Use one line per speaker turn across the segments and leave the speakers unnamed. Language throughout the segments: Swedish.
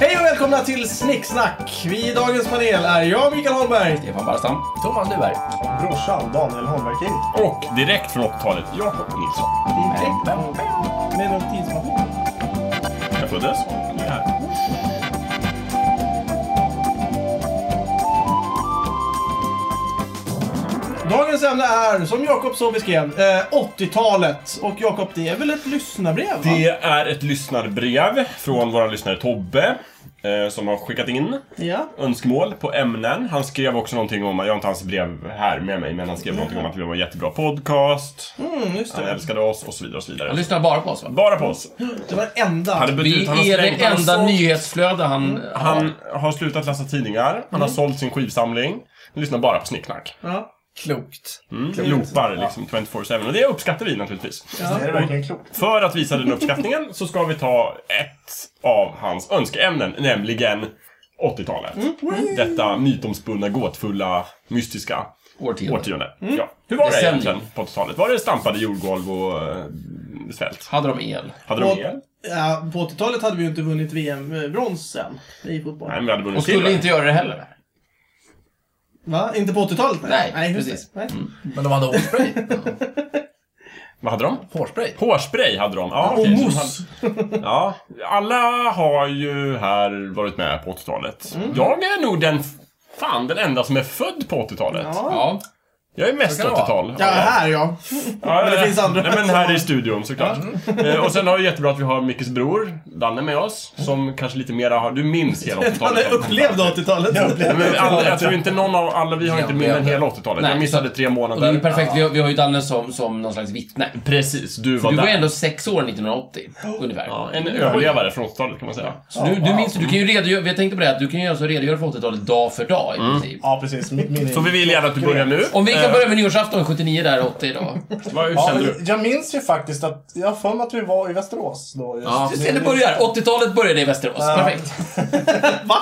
Hej och välkomna till Snicksnack! Vi i dagens panel är jag, Mikael Holmberg. Stefan Barstam. Thomas Duberg.
Mm.
Brorsan Daniel Holmberg King.
Och direkt från 80-talet, Jakob Nilsson.
Med någon tidsmaskin.
Jag föddes. Jag är här.
Dagens ämne är, som Jakob så beskrev, eh, 80-talet. Och Jakob, det är väl ett lyssnarbrev? va?
Det är ett lyssnarbrev från vår lyssnare Tobbe. eh, Som har skickat in
Ja.
önskemål på ämnen. Han skrev också någonting om, jag har inte hans brev här med mig, men han skrev någonting om att vi var en jättebra podcast.
Mm, just
Han
det.
älskade oss och så vidare och så vidare.
Han lyssnar bara på oss va?
Bara på oss.
Det var enda.
hade bytt
Vi
ut- han har
är
slängt-
det
han har
enda
sålt-
nyhetsflöde han har.
Han har slutat läsa tidningar, han
Mm.
har sålt sin skivsamling. Han lyssnar bara på snicknack.
Ja.
Klokt.
Mm. Loopar liksom 24-7. Och det uppskattar vi naturligtvis.
Ja.
Är det verkligen klokt?
För att visa den uppskattningen så ska vi ta ett av hans önskeämnen, nämligen 80-talet. Detta mytomspunna, gåtfulla, mystiska
Årtionde.
årtionde. Ja. Hur var det
Decennium.
egentligen på 80-talet? Var det stampade jordgolv och eh, svält?
Hade de el?
Hade de
Och-
el?
Ja, på 80-talet hade vi ju inte vunnit VM-brons sen i fotboll.
Nej, men vi hade vunnit
Och skulle
silver.
inte göra det heller.
Va? Inte på 80-talet?
Nej,
just
precis.
det. Nej.
Men de hade hårspray.
Vad hade de?
hårspray.
Hårspray hade de. Ja,
Och
okej, så
mousse.
de hade- Ja, alla har ju här varit med på 80-talet. Jag är nog den, fan, den enda som är född på 80-talet.
Ja.
Ja.
Jag är mest
Så kan det vara.
80-tal.
ja, här ja.
Ja,
Men det finns andra.
Nej, men här i studion såklart. Eh, och sen har vi jättebra att vi har Mickes bror, Danne, med oss. Som kanske lite mera har... Du minns hela 80-talet.
Han upplevde 80-talet.
Jag upplevde-
Nej, men alla, jag tror inte någon av alla, vi har inte mer än hela 80-talet.
Nej,
Jag missade tre
Och det är ju
månader.
perfekt, vi har, vi har ju Danne som, som någon slags vittne.
Precis, du var
Du var
där.
ju ändå sex år 1980, ungefär.
Ja, en överlevare från 80-talet kan man säga.
Så du, du minns, du kan ju redogöra, jag tänkte på det, att du kan ju alltså redogöra för 80-talet dag för dag i princip.
Ja, precis. Min, min,
Så vi vill gärna att du börjar nu.
Om vi
Eh,
kan börja med nyårsafton 79 där, 80 då.
Vad, hur
Ja,
kände du?
men jag minns ju faktiskt att, jag har för mig att vi var i Västerås då. Just.
Du ser, det börjar. 80-talet började i Västerås. Perfekt.
Va?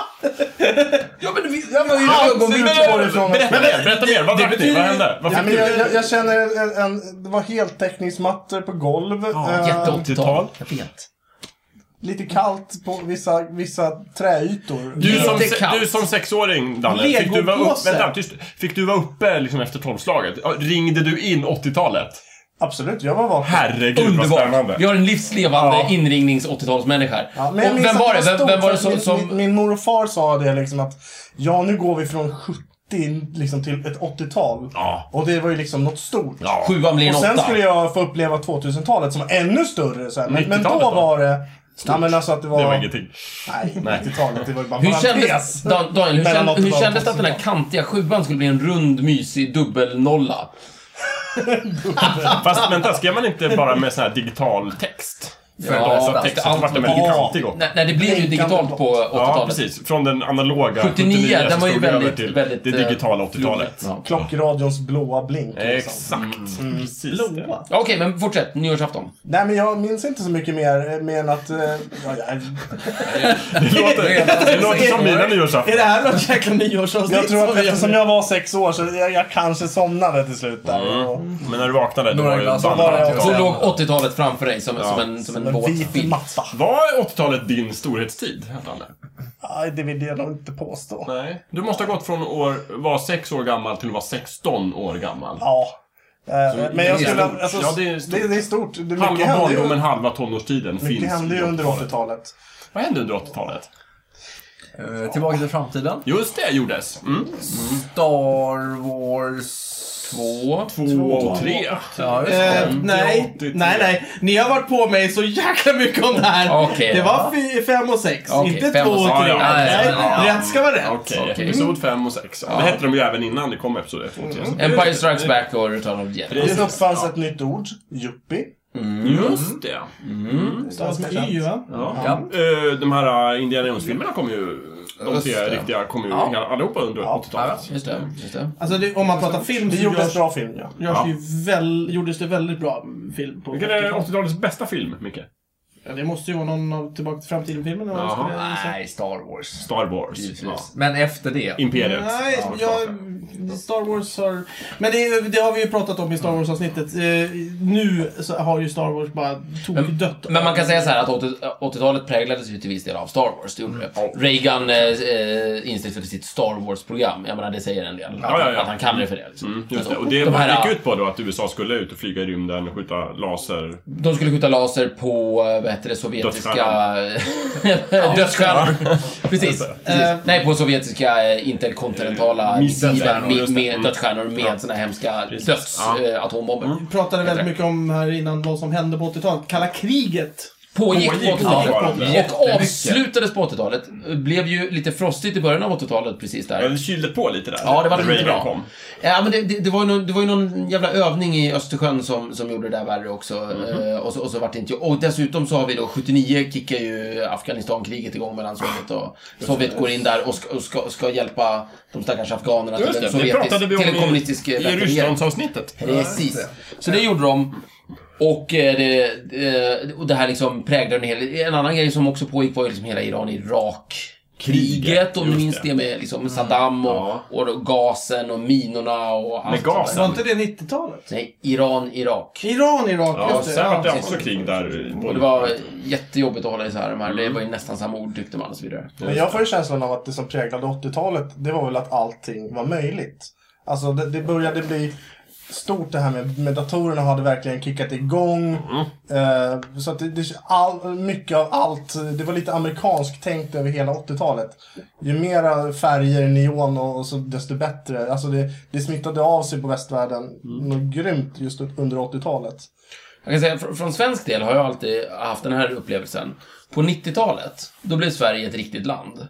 Ja, men vi...
Jag var ju absolut varifrån.
Berätta mer, berätta mer. Vad drack ni? Vad hände? Vad
Ja,
fick
men
du?
jag, jag, jag känner en, en, det var heltäckningsmattor på golv. eh,
Jätte 80-tal.
80-tal.
Jag vet.
lite kallt på vissa, vissa träytor.
Du som,
Lite kallt.
du som sexåring, Danne, fick du, vara upp,
Legopåse.
vänta, tyst, fick du vara uppe liksom efter tolvslaget? Ja, Ringde du in 80-talet?
Absolut, jag var vaken.
Herregud vad spännande!
Vi har en livslevande
Ja.
inringnings 80-talsmänniska här.
Ja, men jag
och
minns
vem
att
var det?
var
Vem,
stort,
vem var det
för att
som...
min,
som
Min, min mor och far sa det liksom att ja, nu går vi från 70 liksom till ett 80-tal.
Ja.
Och det var ju liksom något stort.
Ja.
Sjuan blir en
Och sen
åtta.
skulle jag få uppleva 2000-talet som var ännu större sen. Men, men då
90-talet då?
var det... Ja, men alltså att det var...
Det var ingenting.
Nej, 90-talet. Det var ju bara
Hur
bara en
kändes,
tes.
Dan- Daniel, hur,
Mellan
känd,
80-talet
hur
och
kändes det att den här
80-talet?
kantiga sjuan skulle bli en rund, mysig dubbelnolla?
Fast vänta, skrev man inte bara med sån här digital text? För
Ja,
att läsa
fast
text,
allt
så vart den väldigt
var-
kantig också.
Nej, nej det blev ju
Blänkande
digitalt
blått.
på 80-talet.
Ja, precis. Från den analoga
79,
79 så
den var ju
slog det över
väldigt,
till
väldigt...
det
eh,
digitala 80-talet.
Ja.
Klockradions blåa blink. Liksom.
Exakt. Mm. Precis. det.
Blåa.
Ja, Okej, men fortsätt. Nyårsafton.
Nej, men jag minns inte så mycket mer, eh, mer än att... eh, Ja, jag,
Det låter, det låter som mina
Är det
nyårsafton.
här något jäkla nyårsavsnitt?
jag tror
som
att
vi gör
eftersom
nu?
jag var sex år så jag, jag kanske somnade till slut där.
Mm.
Och,
Men när du vaknade, då
Några
var ju
glas.
bandet
Var det-
80-tal.
Så
Ja.
låg 80-talet framför dig som, som en, som
som
en
en
våt
vit
film.
matta.
Var 80-talet din storhetstid, Danne?
Aj, det vill jag nog inte påstå.
Nej. Du måste ha gått från att vara 6 år gammal till att vara 16 år gammal.
Ja. Eh, Men jag
det är
skulle...
stort.
Alltså,
Ja, det
det,
är
är
stort.
det, är stort. Det, mycket
Halva
hände
barndomen,
ju,
halva tonårstiden finns
mycket hände ju
i
under 80-talet.
Vad hände under 80-talet?
Eh, Tillbaka till framtiden.
Just det, gjordes. Mm.
Star Wars...
Två.
Två och tre.
Ja, just det.
Eh, nej,
83.
nej, nej. Ni har varit på mig så jäkla mycket om det här.
Eh,
Okej.
Det var fy- fem och sex,
Okej,
inte
fem
två
och
och
sex.
tre.
Ja, ja,
Nej,
ja, ja,
Rätt ska vara rätt.
Okej,
Okej.
episod fem och sex. Det hette de ju även innan det kom episod ett och tre.
Empire Strikes Back och Return of the Jedi.
Alltså,
Det uppfanns ett nytt ord, yuppie.
Mm.
Mm. Just det.
Stavas med y, va?
Ja. Eh, De här eh, Indiana Jones-filmerna kom ju... De
Just
tre
det.
riktiga kom ju allihopa under 80-talet.
Just det, just det.
Alltså, det, om man pratar film
Det
så
gjordes
görs,
bra film, ja.
görs det ju väl, gjordes det väldigt bra film på
Vilken är
80-talet.
80-talets bästa film, Micke?
Ja, det måste ju vara någon av Tillbaka till framtiden-filmen. eller vad
Jaha.
skulle jag säga.
Nej, Star Wars.
Star Wars.
Givetvis.
Ja.
Men efter det.
Imperiet.
Nej,
Ja,
jag,
klart
Star Wars har... Men det, det har vi ju pratat om i Star Wars-avsnittet. Eh, nu så har ju Star Wars bara tokdött.
Men man kan säga så här att 80 80-talet präglades ju till viss del av Star Wars. Det gjorde det. Reagan eh, eh, instiftade sitt Star Wars-program. Jag menar, det säger en del. Att,
Ja, ja, ja.
att han kallar det för det. Liksom.
Mm, just det.
Men så,
Och det
de, här,
gick ut på då att USA skulle ut och flyga i rymden och skjuta laser.
de skulle skjuta laser på, eh, vad heter det, sovjetiska... Dödsstjärnor. Precis.
Eh,
Nej, på sovjetiska eh, interkontinentala
Alltså, Eh,
missiler
missiler,
med,
just det.
med
Mm.
dödsstjärnor med såna hemska eh,
Ja. Mm.
dödsatombomber.
vi pratade väldigt mycket om här innan vad som hände på 80-talet. Kalla kriget.
Pågick på
Pågick
80-talet.
fortfarande.
Och
Jättemycket.
avslutades på 80-talet. Blev ju lite frostigt i början av 80-talet, precis
Ja,
där.
det kylde på lite där.
Ja, det var
när
lite
Reagan
bra.
Kom.
Ja, men det, det, det, var ju någon, det var ju någon jävla övning i Östersjön som, som gjorde det där värre också.
Mhm.
Eh, och, så, och så vart det inte... Och dessutom så har vi då 79 kickar ju Afghanistankriget igång mellan Sovjet och... Sovjet går in där och ska, och ska, ska hjälpa de stackars afghanerna till
Just
en,
det, det
sovjetisk,
pratade vi om
till en
i,
kommunistisk eh,
i
vänsterregering.
Rysslandsavsnittet.
Precis. Så det gjorde de. Och eh, det, eh, och det här liksom präglade en hel... En annan grej som också pågick var ju liksom hela Iran-Irak. Kriget, om du
Just
minns
det. Mm.
det med liksom Saddam och,
Ja.
och då gasen och minorna och allt
Med gasen.
Var
sånt
inte det 90-talet?
där. Nej, Iran-Irak.
Iran, Irak,
Ja,
just det.
sen var det
Ja.
också krig där.
Och det var jättejobbigt att hålla isär de här. Det var ju nästan samma ord tyckte man och så vidare.
Men jag får ju känslan av att det som präglade 80-talet, det var väl att allting var möjligt. Alltså det, det började bli stort det här med, med datorerna hade verkligen kickat igång. Eh, så att det, det, all, mycket av allt, det var lite amerikanskt tänkt över hela 80-talet. Ju mera färger, neon och, och så desto bättre. Alltså det, det smittade av sig på västvärlden något grymt just under 80-talet.
Jag kan säga, fr- från svensk del har jag alltid haft den här upplevelsen. På 90-talet, då blev Sverige ett riktigt land.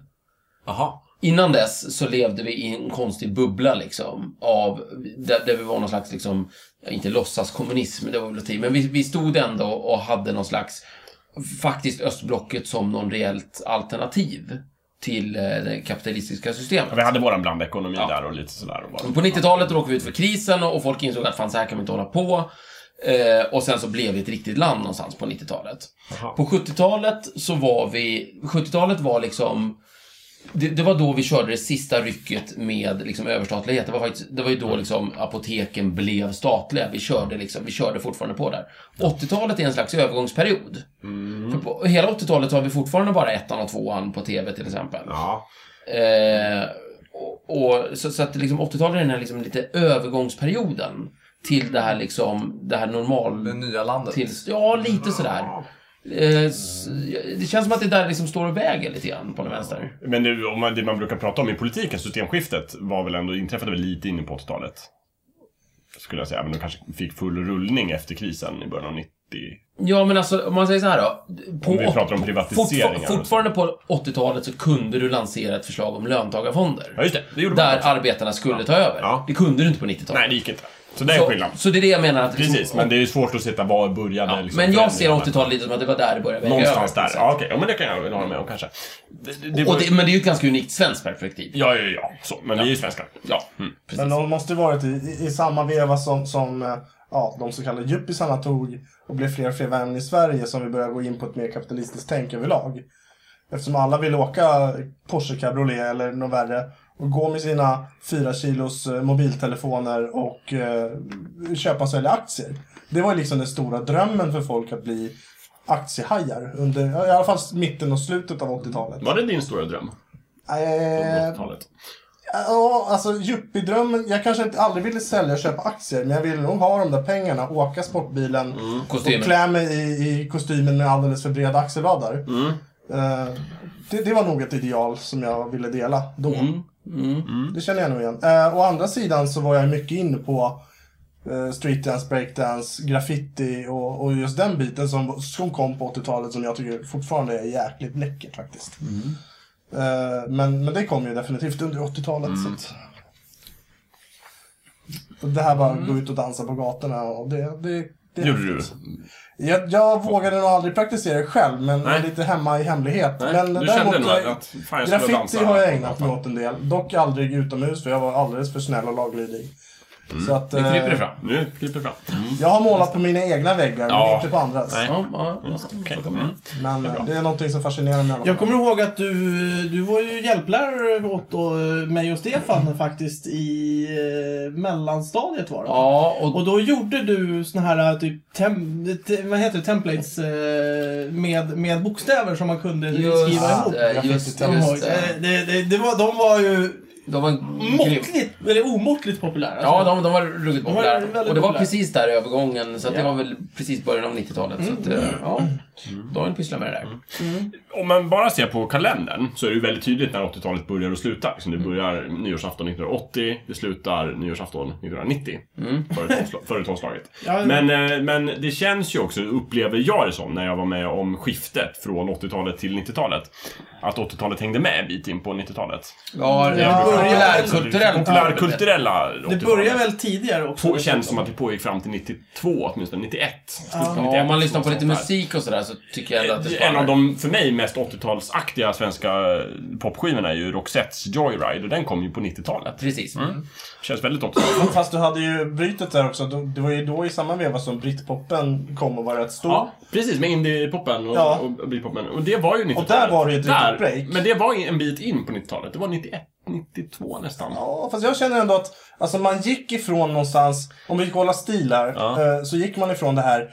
Jaha.
Innan dess så levde vi i en konstig bubbla liksom. Av, där, där vi var någon slags, liksom, inte låtsas kommunism, det var väl att ta i, men vi, vi stod ändå och hade någon slags, faktiskt östblocket som någon reellt alternativ till eh, det kapitalistiska systemet.
Ja, Vi hade våran blandekonomi där och lite sådär. Och bara.
Men På 90-talet råkade vi ut för krisen och och folk insåg att fan, så här kan vi inte hålla på. Eh, och sen så blev vi ett riktigt land någonstans på 90-talet.
Jaha.
På 70-talet så var vi, 70-talet var liksom det, det var då vi körde det sista rycket med liksom överstatlighet. Det var, faktiskt, det var ju då liksom apoteken blev statliga. Vi körde, liksom, vi körde fortfarande på där. 80-talet är en slags övergångsperiod. För på, hela 80-talet har vi fortfarande bara ettan och tvåan på TV till exempel.
Ja.
Eh, och, och, så, så att liksom 80-talet är den här liksom lite övergångsperioden till det här liksom, det här
Det
normal...
nya landet.
Till, ja, lite sådär. Eh, s- det känns som att det där liksom står och väger lite grann på den vänster.
Men det, om man, det man brukar prata om i politiken, systemskiftet, var väl ändå, inträffade väl lite inne på 80-talet. Skulle jag säga. Men de kanske fick full rullning efter krisen i början av 90.
Ja, men alltså om man säger så här då. På
Om vi
åt-
pratar om privatiseringar och
fortfar-
så.
fortfarande på 80-talet så kunde du lansera ett förslag om löntagarfonder.
Ja, just det. Det gjorde man
där
också.
arbetarna skulle ta över.
Ja.
Det kunde du inte på 90-talet.
Nej, det gick inte. Så det är
så,
skillnaden.
så det är det jag menar att... liksom-
Precis, men det är ju svårt att sitta var började
ja,
liksom,
men jag ser
förändringarna.
80-talet lite som att det var där det började väga
Någonstans
över.
där. Ja, okej. Ja, men det kan jag väl hålla med om kanske. Det, det, det
Och
var-
det, men det är ju ett ganska unikt svenskt perspektiv. hm,
Ja, ja, ja. Så, men vi är ju svenskar. Ja. Mm.
Men de måste ju varit i, i, i samma veva som, som eh, ja, de så kallade yuppisarna tog och blev fler och fler vänner i Sverige som vi börjar gå in på ett mer kapitalistiskt tänk överlag. Eftersom alla vill åka Porsche Cabriolet eller något värre och gå med sina fyra kilos eh, mobiltelefoner och eh, köpa och sälja aktier. Det var ju liksom den stora drömmen för folk att bli aktiehajar under ja, i alla fall mitten och slutet av 80-talet.
Var det din stora dröm?
Eh,
80-talet?
Ja, alltså yuppiedrömmen. Jag kanske inte aldrig ville sälja och köpa aktier, men jag ville nog ha de där pengarna, åka sportbilen
Mm. Kostymen.
och klä mig i, i kostymen med alldeles för breda axelvaddar.
Mm.
Eh, det, det var nog ett ideal som jag ville dela då.
Mm.
Det känner jag nog igen. Eh, å andra sidan så var jag mycket inne på eh, streetdance, breakdance, graffiti och, och just den biten som, som kom på 80-talet som jag tycker fortfarande är jäkligt läckert faktiskt.
Mm.
Eh, men, men det kom ju definitivt under 80-talet.
Mm.
Så att... Och Det här bara gå ut och dansa på gatorna och det... det, det
Gjorde du?
Jag, jag vågade nog aldrig praktisera det själv, men
Nej.
lite hemma i hemlighet. men
du
däremot-
kände nog att fan, jag skulle
Graffiti
dansa.
har jag ägnat mig åt en del. Dock aldrig utomhus för jag var alldeles för snäll och laglydig.
Mm.
Så att,
Nu kryper det
eh,
fram.
Nu kryper det fram.
jag har målat på mina egna väggar, men
Ja.
inte på andras.
Nej.
Ja, ja, ja.
Okej, kommer den.
Men eh, det är någonting som fascinerar mig. i alla
Jag
fall.
kommer ihåg att du, du var ju hjälplärare åt då, eh, mig och Stefan faktiskt i eh, mellanstadiet var det.
ja och,
Och då gjorde du såna här typ, tem, te, vad heter det, templates eh, med, med bokstäver som man kunde
just,
skriva ihop.
det,
graffiti
just,
till-
Kommer ihåg.
just det.
Eh, det, det, det var, de var ju
De var en grym-
måttligt, eller omåttligt populära.
Ja, de, de var ruggigt
var
populära.
väldigt
Och det var
populära.
precis där i övergången, så att det
Ja.
var väl precis början av 90-talet. Så att, eh, ja, Daniel pysslar med det där.
Om man bara ser på kalendern så är det ju väldigt tydligt när 80-talet börjar och slutar. Liksom det
Mm.
börjar nyårsafton 1980, det slutar nyårsafton 1990.
Mm.
Företagslag- Företagslaget.
Ja,
men, eh, men det känns ju också, upplever jag det som, när jag var med om skiftet från 80-talet till 90-talet. Att 80-talet hängde med en bit in på 90-talet.
Ja,
det började-
eh, populärkulturellt.
liksom Populärkulturella
det
80-talet.
började väl tidigare också?
På, känns som att det pågick fram till 92, åtminstone 91. Slutet på
Ja, om
91,
man lyssnar på
något
lite
sånt där.
musik och sådär så tycker jag ändå att det
En
sparar.
av de, för mig, mest 80-talsaktiga svenska eh, popskivorna är ju Roxettes Joyride och den kom ju på 90-talet.
Precis.
Känns väldigt 80-tal.
Fast du hade ju brytet där också. Du- Det var ju då i samma veva som brittpoppen kom och var rätt stor.
Ja, precis. Med indie-poppen och,
Ja.
och britpopen. Och det var ju 90-talet.
där var det ju ett
Där,
litet break.
Men det var en bit in på 90-talet. Det var 91, 92 nästan.
Ja, fast jag känner ändå att alltså man gick ifrån någonstans, om vi kollar stil här,
Ja.
eh, så gick man ifrån det här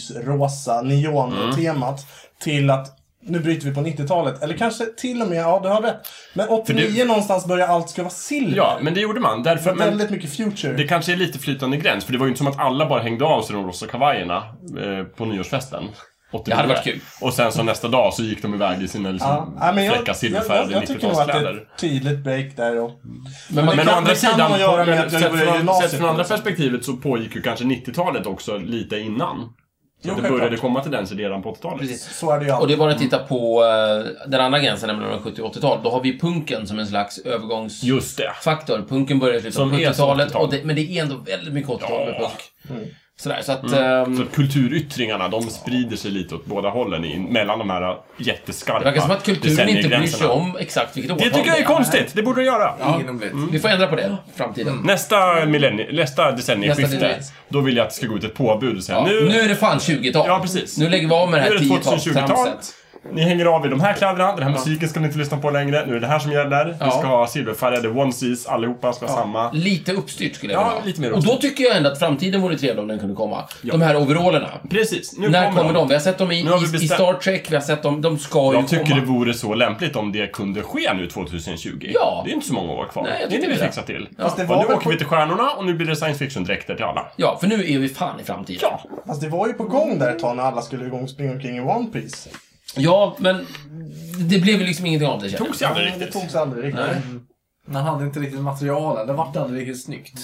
lysrosa neon-temat
Mm.
till att nu bryter vi på 90-talet. Eller kanske till och med, ja du har rätt. Men 89 någonstans börjar allt ska vara silver.
Ja, men det gjorde man. Därför, men,
Väldigt mycket future.
Det kanske är lite flytande gräns, för det var ju inte som att alla bara hängde av sig de rosa kavajerna eh, på nyårsfesten. 89.
Det hade varit kul.
Och sen så nästa dag så gick de iväg i sina
Ja,
liksom,
nej, men jag,
fräcka
jag, jag,
silverfärgade
jag tycker nog att det är
90-talskläder.
ett tydligt break där. Och,
Men man,
Men å
kan-
andra
det kan
sidan,
man göra
på-
med
men
att jag
sett
började
från,
gymnasiet,
sett från andra
liksom.
perspektivet så pågick ju kanske 90-talet också lite innan. Så
Jo,
att det
självklart.
började komma tendenser redan på 80-talet.
precis.
så är det ju
Och det
alltid.
är bara att titta på eh, den andra gränsen, nämligen 70 och 80-tal. Då har vi punken som en slags övergångs...
Just det.
faktor. Punken börjar i slutet av
Som är som
70-talet.
80-tal.
och det- Men det är ändå väldigt mycket 80-tal med
Ja. Mm.
punk. Sådär, så att... ehm,
Så att kulturyttringarna, de sprider sig lite åt båda hållen i, mellan de här jätteskarpa
det verkar som att kulturen inte bryr sig
decenniegränserna.
om exakt vilket
Det
årtal
tycker jag är
är.
konstigt! Mm. Det borde de göra.
Egendomligt.
Vi får ändra på det i
Mm.
framtiden.
Nästa, millennie, nästa
Nästa
decennieskifte,
decennie.
då vill jag att det ska gå ut ett påbud och säga
Ja,
nu,
nu, är det fan 20-tal.
Ja, precis.
Nu lägger vi av med det
nu
här
är det 2020-tal.
10-talstramset.
Ni hänger av i de här kläderna, den här musiken ska ni inte lyssna på längre. Nu är det här som gäller.
Ja.
Ni ska ha silverfärgade onesies, allihopa ska ha samma.
Lite uppstyrt skulle jag
Ja,
vilja ha.
lite mer
Och då
uppstyrt.
tycker jag ändå att framtiden vore trevlig om den kunde komma. De här overallerna.
Precis, nu
När kommer de? Vi har sett dem i,
Nu har vi
i, i
bestämt-
Star Trek, vi har sett dem. De ska ju
Jag tycker
komma.
det vore så lämpligt om det kunde ske nu 2020.
Ja.
Det är inte så många år kvar.
Nej, jag
det är
tycker
det vi
det.
fixar till.
Fast det
Och
var
nu
väl
åker
på-
vi till stjärnorna och nu blir det science fiction-dräkter till alla.
Ja, för nu är vi fan i framtiden.
Ja.
Fast det var ju på gång där ett tag när alla skulle igång och springa omkring i One Piece.
Ja, men det blev ju liksom ingenting av det känner
Tog
jag.
sig aldrig
Nej, det
riktigt.
togs aldrig riktigt.
Han Mm. hade inte riktigt material, eller vart det aldrig riktigt snyggt.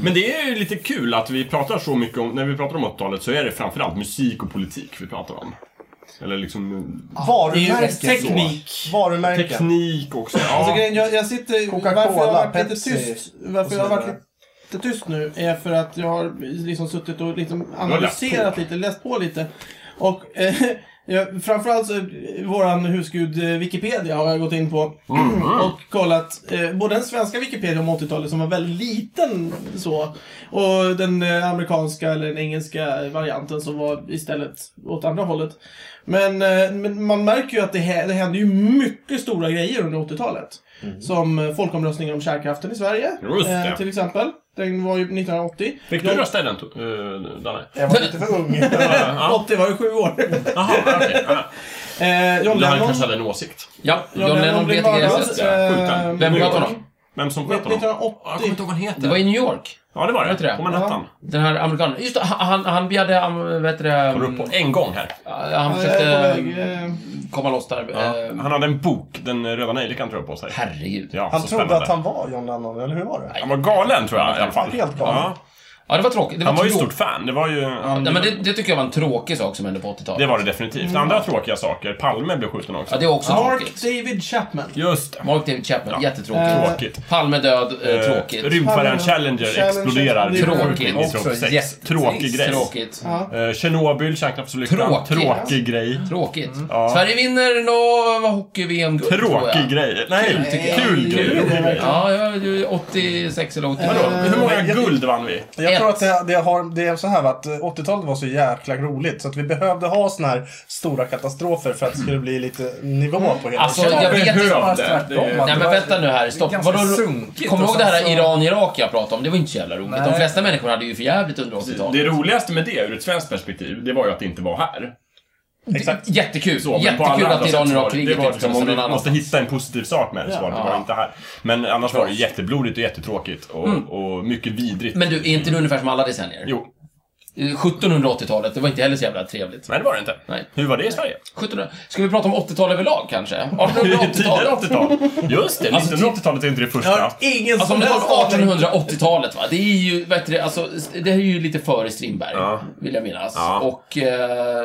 Men det är ju lite kul att vi pratar så mycket om, när vi pratar om 80-talet så är det framförallt musik och politik vi pratar om. Eller liksom
Varumärken.
Teknik.
Varumärken.
teknik också.
Alltså,
Ja.
grejen, jag, jag sitter...
Coca-Cola,
varför jag har varit lite
Pepsi
tyst,
och
varför
så
jag har varit
vidare.
lite tyst nu är för att jag har liksom suttit och liksom
läst
analyserat lite, läst på lite. Och eh, jag, framförallt så, eh, våran husgud eh, Wikipedia har jag gått in på
Mm.
och kollat eh, både den svenska Wikipedia om 80-talet som var väldigt liten så och den eh, amerikanska eller den engelska varianten som var istället åt andra hållet. Men, eh, men man märker ju att det, hä- det hände ju mycket stora grejer under 80-talet.
Mhm.
Som eh, folkomröstningen om kärnkraften i Sverige. Eh,
Just det.
till exempel. Den var ju 1980.
Fick du rösta i den, uh, Danne?
Jag var lite för ung.
Ja.
80 var ju sju år.
Jaha, okej. Ja.
eh, John
Eller han
Lennon.
kanske hade en åsikt.
Ja, John Lennon
blev
blev
mördad.
tillgränsat.
Eh,
Skjuten.
Vem
New
sköt
York.
honom?
Vem som sköt honom? Jag kommer
1980.
inte ihåg vad han heter.
Det var i New York.
Ja, det var
Vet du det?
det. På Manhattan.
Den här amerikanen. Just det, han, han begärde, um, vad heter det,
Kommer upp på
Mm.
en gång här.
ja, han
Ja, jag
försökte
är på väg, eh.
komma loss där. Eh,
Han hade en bok, Den röda nejlikan, tror jag, på sig.
Herregud.
Ja,
Han
så
trodde
spännande.
att han var John Lennon, eller hur var det?
Han var galen, tror jag i alla fall.
Helt galen.
Ja.
Ja, det var tråkigt. Det var
Han var ju
trå-
stort fan. Det var ju... Han,
Nej, men det, det tycker jag var en tråkig sak som hände på 80-talet.
Det var det definitivt. Andra tråkiga saker. Palme blev skjuten också.
Ja, det är också
Mark
tråkigt.
David Chapman.
Just det.
Mark David Chapman,
Ja.
jättetråkigt.
Eh,
Tråkigt.
Palme död, eh, tråkigt.
Eh, Rymdfärjan
Palme-
Challenger
Challenger
exploderar.
exploderar.
Tråkigt.
i
Också
1986.
jättetrist.
Tråkig grej.
Tråkigt.
Ja.
Eh, Tjernobyl, kärnkraftsolyckan.
Tråkigt.
Tråkig grej.
Tråkigt.
Mm.
Ja.
Sverige vinner nå hockey-VM-guld, tror
Tråkig
jag.
grej. Nej,
tycker jag.
kul grej.
Kul.
Kul grej.
Ja, det var ju 86 eller 87.
Vadå? Hur många
jag-
guld vann vi?
Jag tror
Ett.
att det, det, har, det är så här va, att eh, 80-talet var så jäkla roligt så att vi behövde ha såna här stora katastrofer för att det skulle bli lite nivå på hela
Alltså,
tiden.
jag vet inte.
bara
Behövde.
tvärtom,
Det är-
va?
Nej men vänta nu här, stopp.
Det är
Vadå,
ganska sunkigt
kommer du
och
ihåg det här
sen så-
Iran-Irak jag pratade om? Det var inte så jävla roligt.
Nej.
De flesta människor hade ju för jävligt under 80-talet.
Det roligaste med det ur ett svenskt perspektiv, det var ju att det inte var här.
Exakt.
Jättekul.
Så, men på alla
Jättekul
andra
att
sätt så var det-
Iran-Irak-kriget
det var
utspelade
liksom,
sig någon
Om vi måste
annanstans.
hitta en positiv sak med det så var det
Ja.
bara inte här. Men annars var det jätteblodigt och jättetråkigt och, och mycket vidrigt.
Mm. Men du, är inte det ungefär som alla decennier?
Jo.
Eh, 1780-talet, det var inte heller så jävla trevligt.
Nej, det var det inte.
Nej.
Hur var det i Sverige?
1700 Ska vi prata om 80-tal överlag kanske? Alltså,
Tidigare
1880-talet?
80-tal. Just det,
Alltså,
1980-talet är inte det
Jag har
första.
ingen
Alltså
som
om det
helst
var
aning.
1880-talet va, det är ju, vad heter det, alltså, det är ju lite före Strindberg,
Ja.
vill jag minnas.
Ja.
Och, eh,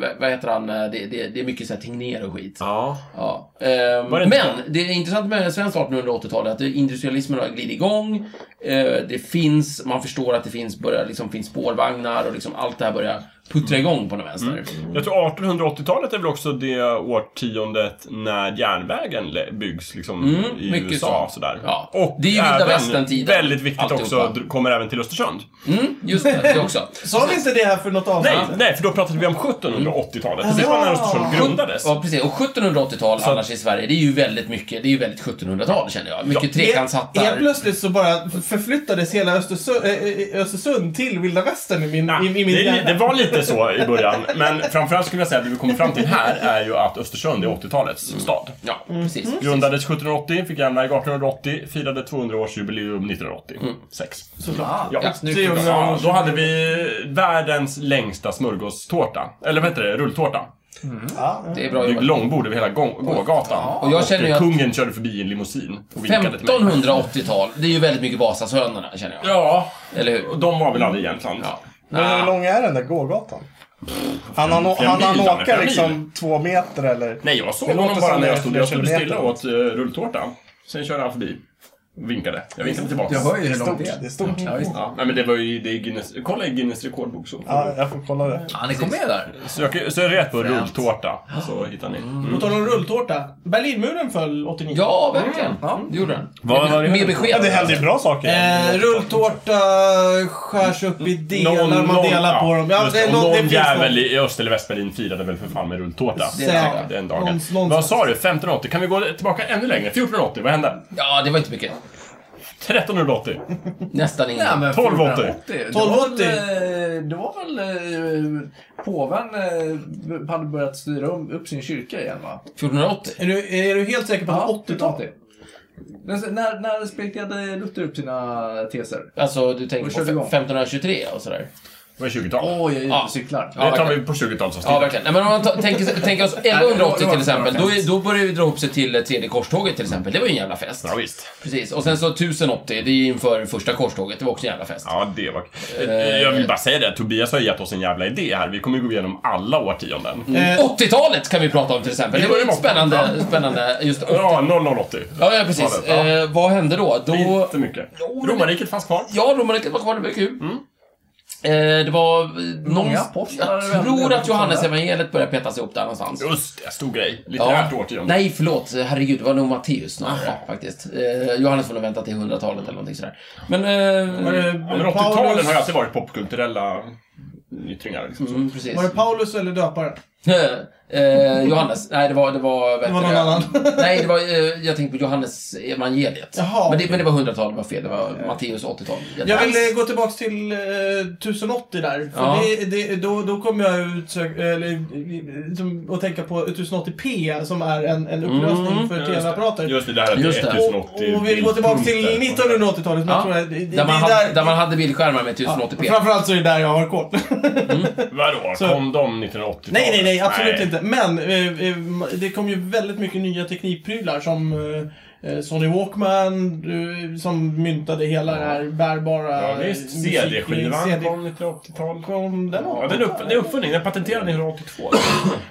vad- vad heter han, eh, det, det, det är mycket så här Tegnér och skit.
Ja.
Ja. ehm,
Var det inte
men det är intressant med svenskt 1880-tal är att industrialismen har glidit igång. Eh, det finns, man förstår att det finns, börjar, liksom, finns spårvagnar och liksom allt det här börjar puttra igång på något vänster.
Jag tror 1880-talet är väl också det årtiondet när järnvägen le- byggs liksom
Mm,
i
mycket
USA.
så.
Sådär.
Ja.
Och
Det är ju vilda
även,
västern-tiden,
Väldigt viktigt också,
alltihopa.
dr- kommer även till Östersund.
Mm, just det, det också.
Sa vi inte det här för något avsnitt?
Nej, nej, för då pratade vi om 1780-talet. Precis
Ja.
när Östersund grundades.
Ja, precis. Och 1780-tal annars i Sverige, det är ju väldigt mycket, det är ju väldigt 1700-tal känner jag. Mycket trekantshattar.
Helt plötsligt så bara förflyttades hela Östersund, eh, Östersund till vilda västern i min, i, i min
det,
hjärna.
det var lite så i början, men framförallt skulle jag säga att det vi kommer fram till här är ju att Östersund är 80-talets
Mm.
stad.
Ja,
Mm.
precis.
Grundades 1780, fick järnväg 1880, firade 200-årsjubileum 1980. Sex.
Mm.
Ah,
Ja,
snyggt.
Det är ju-
Ja, då hade vi världens längsta smörgåstårta. Eller vad heter det? Rulltårta.
Det är bra
Det är
jobbat.
långbord över hela gång- gågatan.
Och jag känner ju
Och
att
kungen körde förbi i en limousin och vinkade till mig.
1580-tal, det är ju väldigt mycket Vasasönerna känner jag.
Ja,
Eller hur?
och de var väl aldrig i Jämtland?
Ja.
Men hur
Ah.
lång är den där gågatan? Han han,
Fem
han, han
mil, Danne,
åka
fem
liksom två meter eller?
Nej, jag såg
Det låter
honom bara
som det
när jag
är
stod,
flera
jag stod
kilometer.
stilla och åt eh, rulltårta. Sen körde han förbi. och Vinkade. Jag vinkade tillbaka.
Jag hör ju hur långt
Stort.
det
Det är
är.
stort.
Ja, visst.
Ja, nej, men det var ju, det är Guinness, kolla i Guinness rekordbok så.
Ja, jag får kolla det.
Ja, ni kom med där.
Sök, sök rätt på rulltårta så hittar ni. Mm.
På tal om rulltårta. Berlinmuren föll 89.
Ja, verkligen. Det gjorde den.
Vad var det?
Mer
Ja, det
besked.
händer ju bra saker.
Eh, rulltårta skärs upp i delar, man delar på dem.
Ja, just det,
är
och
nå-
någon
det finns
jävel
något.
i Öst eller Västberlin firade väl för fan med rulltårta.
Det är
Ja,
säkert.
Den dagen.
Någon- någon-
Vad sa du? 1580? Kan vi gå tillbaka ännu längre? 1480? Vad hände?
Ja, det var inte mycket.
1380?
Nästan
Nej,
inget.
men
1280.
1480. Det var väl, eh, Det var väl... eh, Påven eh, hade börjat styra om- upp sin kyrka igen, va?
1480.
Är du, är du helt säker på att det är 80-tal?
80-talet. När, när spikade Luther upp sina teser?
Alltså, du
Och
tänker på
körde igång.
1523 och sådär.
Det var 20-tal.
Åh, jag är ute
Ja.
och cyklar.
Ja,
det tar vi
verkligen.
på 20-talsavsnittet.
Ja, verkligen. Nej, men om man ta- tänker, tänker oss 1180 till exempel, då, är- då börjar vi dra ihop sig till eh, tredje korståget till exempel. Det var ju en jävla fest.
Ja, visst.
Precis. Och sen så 1080, det är ju inför första korståget. Det var också en jävla fest.
Ja, det var...
Eh.
Jag vill bara säga det, Tobias har gett oss en jävla idé här. Vi kommer ju gå igenom alla årtionden.
Mm.
Eh,
80-talet kan vi prata om till exempel. Det var ju spännande. spännande just 80.
Ja, 0080.
Ja, ja precis.
Ja.
Eh, vad hände då? då
Inte mycket.
Jo, men-
Romarriket fanns kvar.
ja, romarriket var kvar, det var kul. Eh, det var... Många
apostlar
Jag
vände
tror att
mot
Johannes
varandra.
evangeliet börjar petas ihop där någonstans.
Just det, stor grej.
Ja.
Litterärt årtionde.
Nej, förlåt. Herregud, det var nog Matteus snarare faktiskt. Eh, Johannes får nog vänta till 100-talet eller någonting sådär. Men...
var
Eh,
det
Ja, men 80-talen
Paulus,
har ju alltid varit popkulturella yttringar. Liksom.
mm, precis.
var det Paulus eller döparen?
Eh, eh, Johannes. Nej, det var... Det var,
Det var någon annan.
Nej, det var, eh, jag tänkte på Johannes evangeliet.
Jaha.
Men, det, men det var 100-tal, det var fel. Det var Matteus 80-tal.
Eh. Jag vill eh, gå tillbaks till eh, 1080 där. För
Ja.
det, det, då, då kommer jag utsök, eller, eh, liksom, att tänka på 1080p som är en, en upplösning för TV-apparater.
Just det, där att
Just
det
det.
är
Och,
1080
och vi går tillbaka till
punkter.
1980-talet. men
Ja.
jag tror att det- det- det
Där man,
är
hade, där man hade bildskärmar med
Ja,
1080p.
Framförallt så är det där jag har koll.
Vadå,
Så-
kom de 1980-talet?
nej, nej, nej, absolut inte. Men eh, eh, det kom ju väldigt mycket nya teknikprylar som eh, eh, Sonny Walkman du, som myntade hela den här bärbara...
Ja, visst.
Eh, musik-
CD-skivan
CD
kom 1980-tal.
kom den
Ja,
ja,
den är, upp, den är uppfunnen. Den patenterades 1982.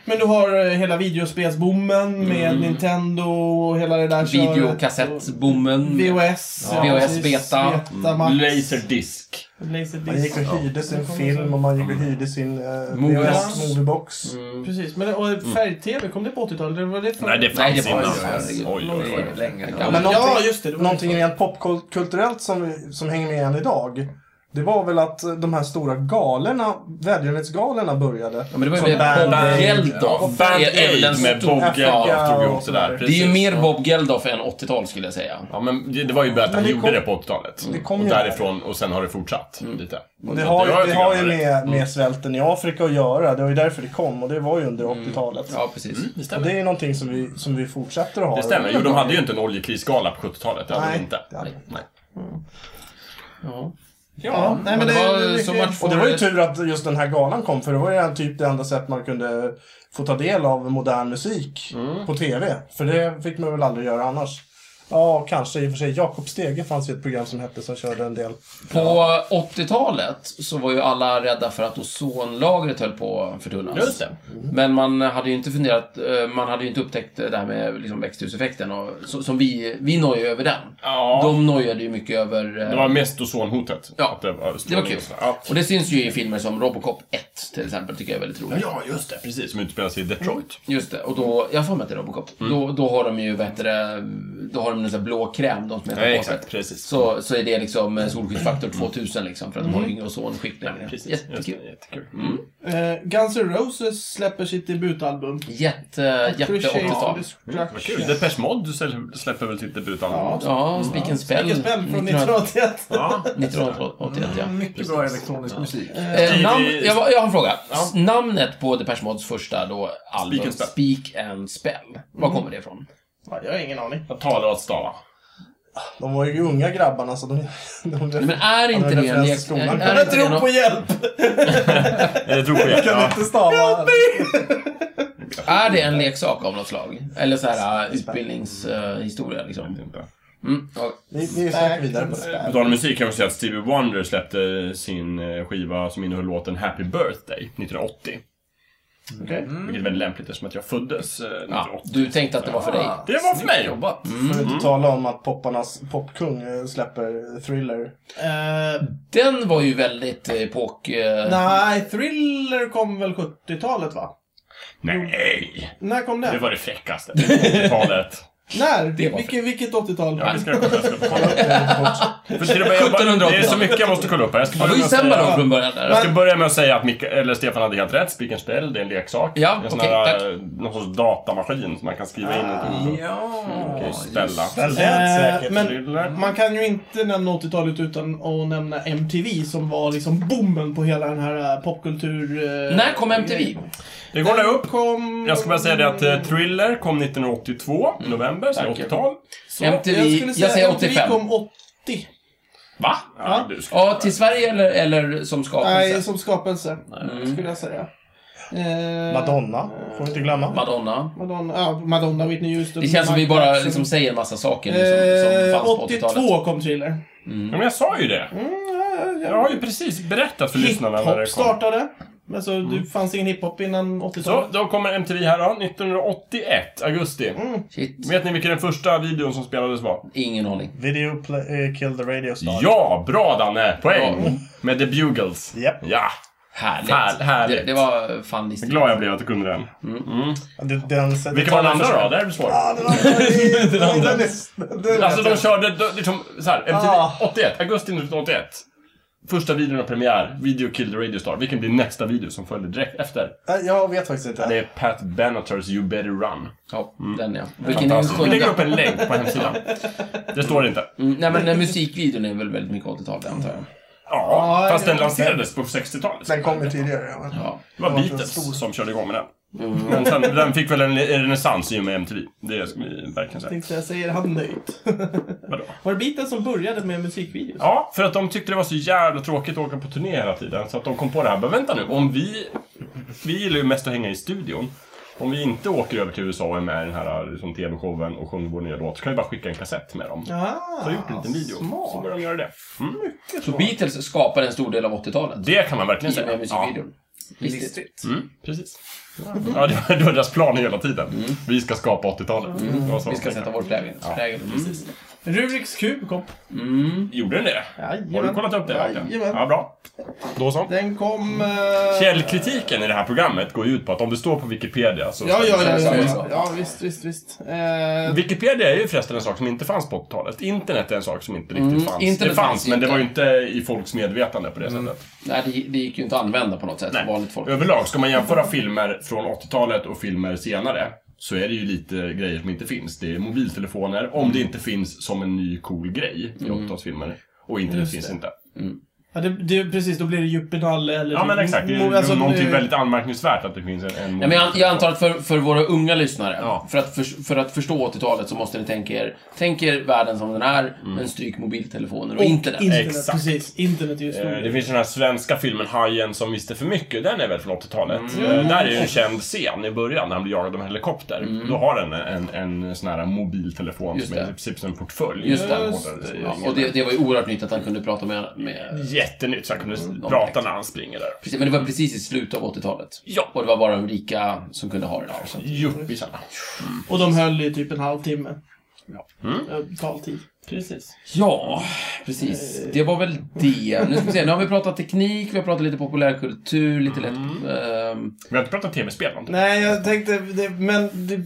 Men du har eh, hela videospelsboomen med
Mm.
Nintendo och hela det där köret.
Videokassettbommen.
VHS.
Ja. VHS beta. Mm.
Max.
Laserdisk.
Man gick
Laserdisc.
och hyrde sin film och man gick och hyrde sin eh,
Movies.
VHS Moviebox.
Precis. Men och färg-tv, kom det på 80-talet? Eller var det för...
Nej, det
Mm. Nej,
fanns
det var
innan.
ju-
Oj, oj,
Det är
oj.
länge
Ja,
nu.
men-
Men ja,
någonting-
just det. det var
Någonting rent popkulturellt som, vi- som hänger med än idag. Det var väl att eh, de här stora galerna, välgörenhetsgalerna började.
Ja, men det var ju
Som
mer
Band
Bob
Aid.
Ja,
Geldof.
Band
är- är väl
Aid
den
med
stor-
Bob Geldof
Ja,
drog ihop
och
det
sådär.
där.
Det är ju
Precis.
mer Bob Geldof än 80-tal skulle jag säga.
Ja, men det, det var ju bara att
Men
han
det
gjorde
kom-
det på 80-talet.
det kom
och
ju-
därifrån, och sen har det fortsatt lite.
Och det
Så
har
att
ju, det
tycker
har
jag
ju
var rätt.
med, med svälten i Afrika att göra. Det var ju därför det kom och det var ju under 80-talet.
Ja, precis.
Mm,
Det
Och
stämmer.
det är ju någonting som vi, som vi fortsätter att ha.
Det stämmer. Jo, de hade ju inte en oljekrisgala på 70-talet. Det hade de
Nej,
inte.
det hade de
Nej.
Ja, nej, men
det
det,
var
det,
så
mycket-
match-
Och det var ju tur att just den här galan kom för det var ju typ det enda sätt man kunde få ta del av modern musik
Mm.
på TV. För det fick man väl aldrig göra annars. Ja, kanske i och för sig. Jakob Stege fanns ju ett program som hette som körde en del.
På 80-talet så var ju alla rädda för att ozonlagret höll på att förtunnas.
Just det.
Men man hade ju inte funderat, eh, man hade ju inte upptäckt det här med liksom växthuseffekten och så, som vi, vi nojade över den.
Ja.
De nojade ju mycket över... eh,
Det var mest ozonhotet.
Ja,
Att det var,
det var kul.
Ja.
Och det syns ju i filmer som Robocop 1 till exempel, tycker jag är väldigt roligt.
ja, just det. Precis, som utspelar sig i Detroit.
Just det, och då, jag har för mig att det är Robocop.
Mm.
Då, då har de ju, vad heter det, då har de en sån här blå kräm, de som heter
Nej,
på
exakt,
sig.
precis.
Mm. Så, så är det liksom eh, solskyddsfaktor 2000 liksom, för att de har ju ingen ozonskikt längre.
Mm. Precis. Just det,
Jättekul.
jättekul. Mm.
Eh, Guns N' Roses släpper sitt debutalbum.
Jätte, jätte Mm,
Appreciate
80-tal.
Destruction.
Vad kul. Depeche Mode släpper- släpper väl sitt debutalbum
Ja.
också?
Ja, Speak and Spell.
Vilket spel från 1981.
Ja.
1981, ja.
Mycket bra elektronisk musik.
Eh, namn,
Stevie-
jag, jag har en fråga. S- Namnet på Depeche Modes första då, album,
Speak and Spell.
Speak and Spell. Var kommer det ifrån?
Ja, jag har ingen aning.
Jag talar att stava.
De var ju unga grabbarna så de... de
Men är inte
hade
det en
referens
lek...
till skolan.
är- är
Jag
inte det
tror
någon-
på hjälp!
Jag tror på det.
kan
Ja.
inte stava.
Är det en leksak av något slag? Eller så här äh, utbildningshistoria liksom? Mm. ja.
Vi, vi söker vidare på det.
På tal om musik kan vi säga att Stevie Wonder släppte sin eh, skiva som innehöll låten Happy Birthday 1980.
Okej.
Vilket är väldigt lämpligt eftersom att jag föddes eh, 1980.
Ja, du tänkte att det var för dig? Mm.
Det var för mig!
Jobbat.
För att inte tala om att popparnas popkung eh, släpper Thriller.
Eh,
Den var ju väldigt eh, epok... eh,
nej, Thriller kom väl 70-talet va?
Nej!
När kom den?
Det var det fräckaste. 80-talet.
När?
Det var
Vilket, vilket 80-tal?
Ja, det ska jag kolla. Jag ska kolla upp det. För till att börja med-
1780.
Det är så mycket jag måste kolla upp här. Jag ska
Det var ju sämre då
börja med att säga-
från början där.
Jag ska börja med att säga att Mika, eller Stefan hade helt rätt. Speak and spell, det är en leksak.
Ja,
en sån
okej,
här,
tack.
eh, någon sorts datamaskin som man kan skriva in någonting på.
Ja,
Och ställa.
Den lät
Eh,
säkert.
men
Thriller.
man kan ju inte nämna 80-talet utan att nämna MTV som var liksom boomen på hela den här eh, popkultur... eh,
När kom MTV?
Det går där upp.
Kom...
Jag ska bara säga det att eh, Thriller kom 1982, november, så det är 80-tal. Så,
MTV,
skulle
jag,
säga
säger
att
85.
MTV kom 80.
va?
Ja.
du ska-
Ja, till Sverige eller, eller som skapelse?
Nej, som skapelse.
Mm.
Skulle jag säga. Eh,
Madonna, får vi inte glömma.
Madonna.
Madonna, ja, Madonna Whitney Houston.
Det känns som vi
Michael
bara
Jackson.
liksom säger en massa saker liksom, som
Eh,
fanns på 80-talet.
82 kom Thriller.
Ja, Men jag sa ju det. Jag har ju precis berättat för lyssnarna när
Hiphop
det kom. Mm.
startade. Alltså, det fanns ingen hiphop innan
Så,
80-talet.
då kommer MTV här då. 1981, augusti.
Shit.
Vet ni vilken den första videon som spelades var?
Ingen aning.
Video play, eh, Kill the Radio Star.
Ja, bra Danne! Poäng! Med The Bugles.
Japp.
Ja!
Härligt.
Här- härligt.
Det, det var fan
Vad
listigt.
Glad jag blev att du kunde den.
Den, den, den,
Vilka var den andra då? Det här blir svårt.
Ja, den andra är... den andra. Den är, den
Alltså de
är,
körde de, liksom såhär, MTV
Ah.
81, augusti 1981. Första videon har premiär, Video Kill the Radio Star. Vilken blir nästa video som följer direkt efter?
Nej, jag vet faktiskt inte.
Det är Pat Benaters You Better Run.
Ja, den ja. Vilken är
Mm. Fantastiskt. Vi lägger
sjunga.
upp en länk på hemsidan. Det står det inte.
Mm, nej men eh, musikvideon är väl väldigt mycket 80-tal antar jag.
Ja,
Ja,
fast den
det-
lanserades på 60-talet.
Den kom ju tidigare. Ja. men-
Ja.
Det var
Det var en
Beatles
stor-
som körde igång med den.
Mm.
Men sen, den fick väl en renässans i och med MTV. Det ska vi verkligen säga.
Tänkte jag, säger han nöjt.
Vadå?
Var det Beatles som började med musikvideos?
Ja, för att de tyckte det var så jävla tråkigt att åka på turné hela tiden. Så att de kom på det här. Men vänta nu, om vi... Vi gillar ju mest att hänga i studion. Om vi inte åker över till USA och är med i den här liksom, TV-showen och sjunger vår nya låt så kan vi bara skicka en kassett med dem.
Ah,
Så har jag gjort en liten video. Så
Smart.
börjar de göra det. Mm.
Så Beatles skapade en stor del av 80-talet.
Det kan man verkligen
I
säga.
med musikvideon. Visst.
Listigt.
Mm, precis. Ja, det var, det var deras plan hela tiden. Vi ska skapa 80-talet. Det var så
Mm. Vi
de
ska
tänkte.
sätta vår prägel. prägel. Precis.
Rubiks kub kom.
Mm.
Gjorde den det? Har du kollat upp det? verkligen?
Jajamän.
Ja, bra. Då så.
Den kom... eh,
Källkritiken i det här programmet går ju ut på att om det står på Wikipedia så...
Ja, ja, ja, ja,
Så.
ja. ja visst, visst, visst. Eh,
Wikipedia är ju förresten en sak som inte fanns på 80-talet. Internet är en sak som inte riktigt
Mm,
fanns.
internet
det fanns,
fanns
men det
inte.
var ju inte Mm. i folks medvetande på det sättet.
Nej, det, det gick ju inte att använda på något sätt.
Nej.
Vanligt folk.
Överlag, ska man jämföra filmer från 80-talet och filmer senare så är det ju lite grejer som inte finns. Det är mobiltelefoner, om det inte finns som en ny cool grej i 80-talsfilmer. Och internet
Just
finns
det.
inte.
ja, det, det, precis, då blir det Juppinalle eller...
Ja men exakt, Mm, det är
Alltså,
någonting
eh,
väldigt anmärkningsvärt att det finns en... en
Ja, men jag, jag antar att för, för våra unga lyssnare,
Ja.
för, att för, för att förstå 80-talet så måste ni tänka er, tänk er världen som den är, men stryk mobiltelefoner och,
Och
internet.
oh, internet
Exakt.
Precis, internet är ju
Eh, Det
stor.
finns den här svenska filmen Hajen som visste för mycket. Den är väl från 80-talet?
Mm.
Eh, Där är ju en känd scen i början när han blir jagad av en helikopter. Då har han en, en, en sån här mobiltelefon
Mm. Just
som är
det.
i princip som en portfölj.
Just det.
Och-
Ja, och det, det var ju oerhört nytt att han kunde prata med... med
Jättenytt, så han kunde
Mm,
prata när han springer där.
precis, men det var precis i slutet av 80-talet.
Ja.
Och det var bara de rika som kunde ha det där. Så. att-
Yuppisarna.
Och de höll i typ en halvtimme.
Ja.
Eh, Taltid. Precis.
Ja, eh. precis. Det var väl det. Nu ska vi se, nu har vi pratat teknik, vi har pratat lite populärkultur, lite lätt... ehm,
Vi har inte pratat tv-spel någonting.
Nej, jag tänkte... Det, men det,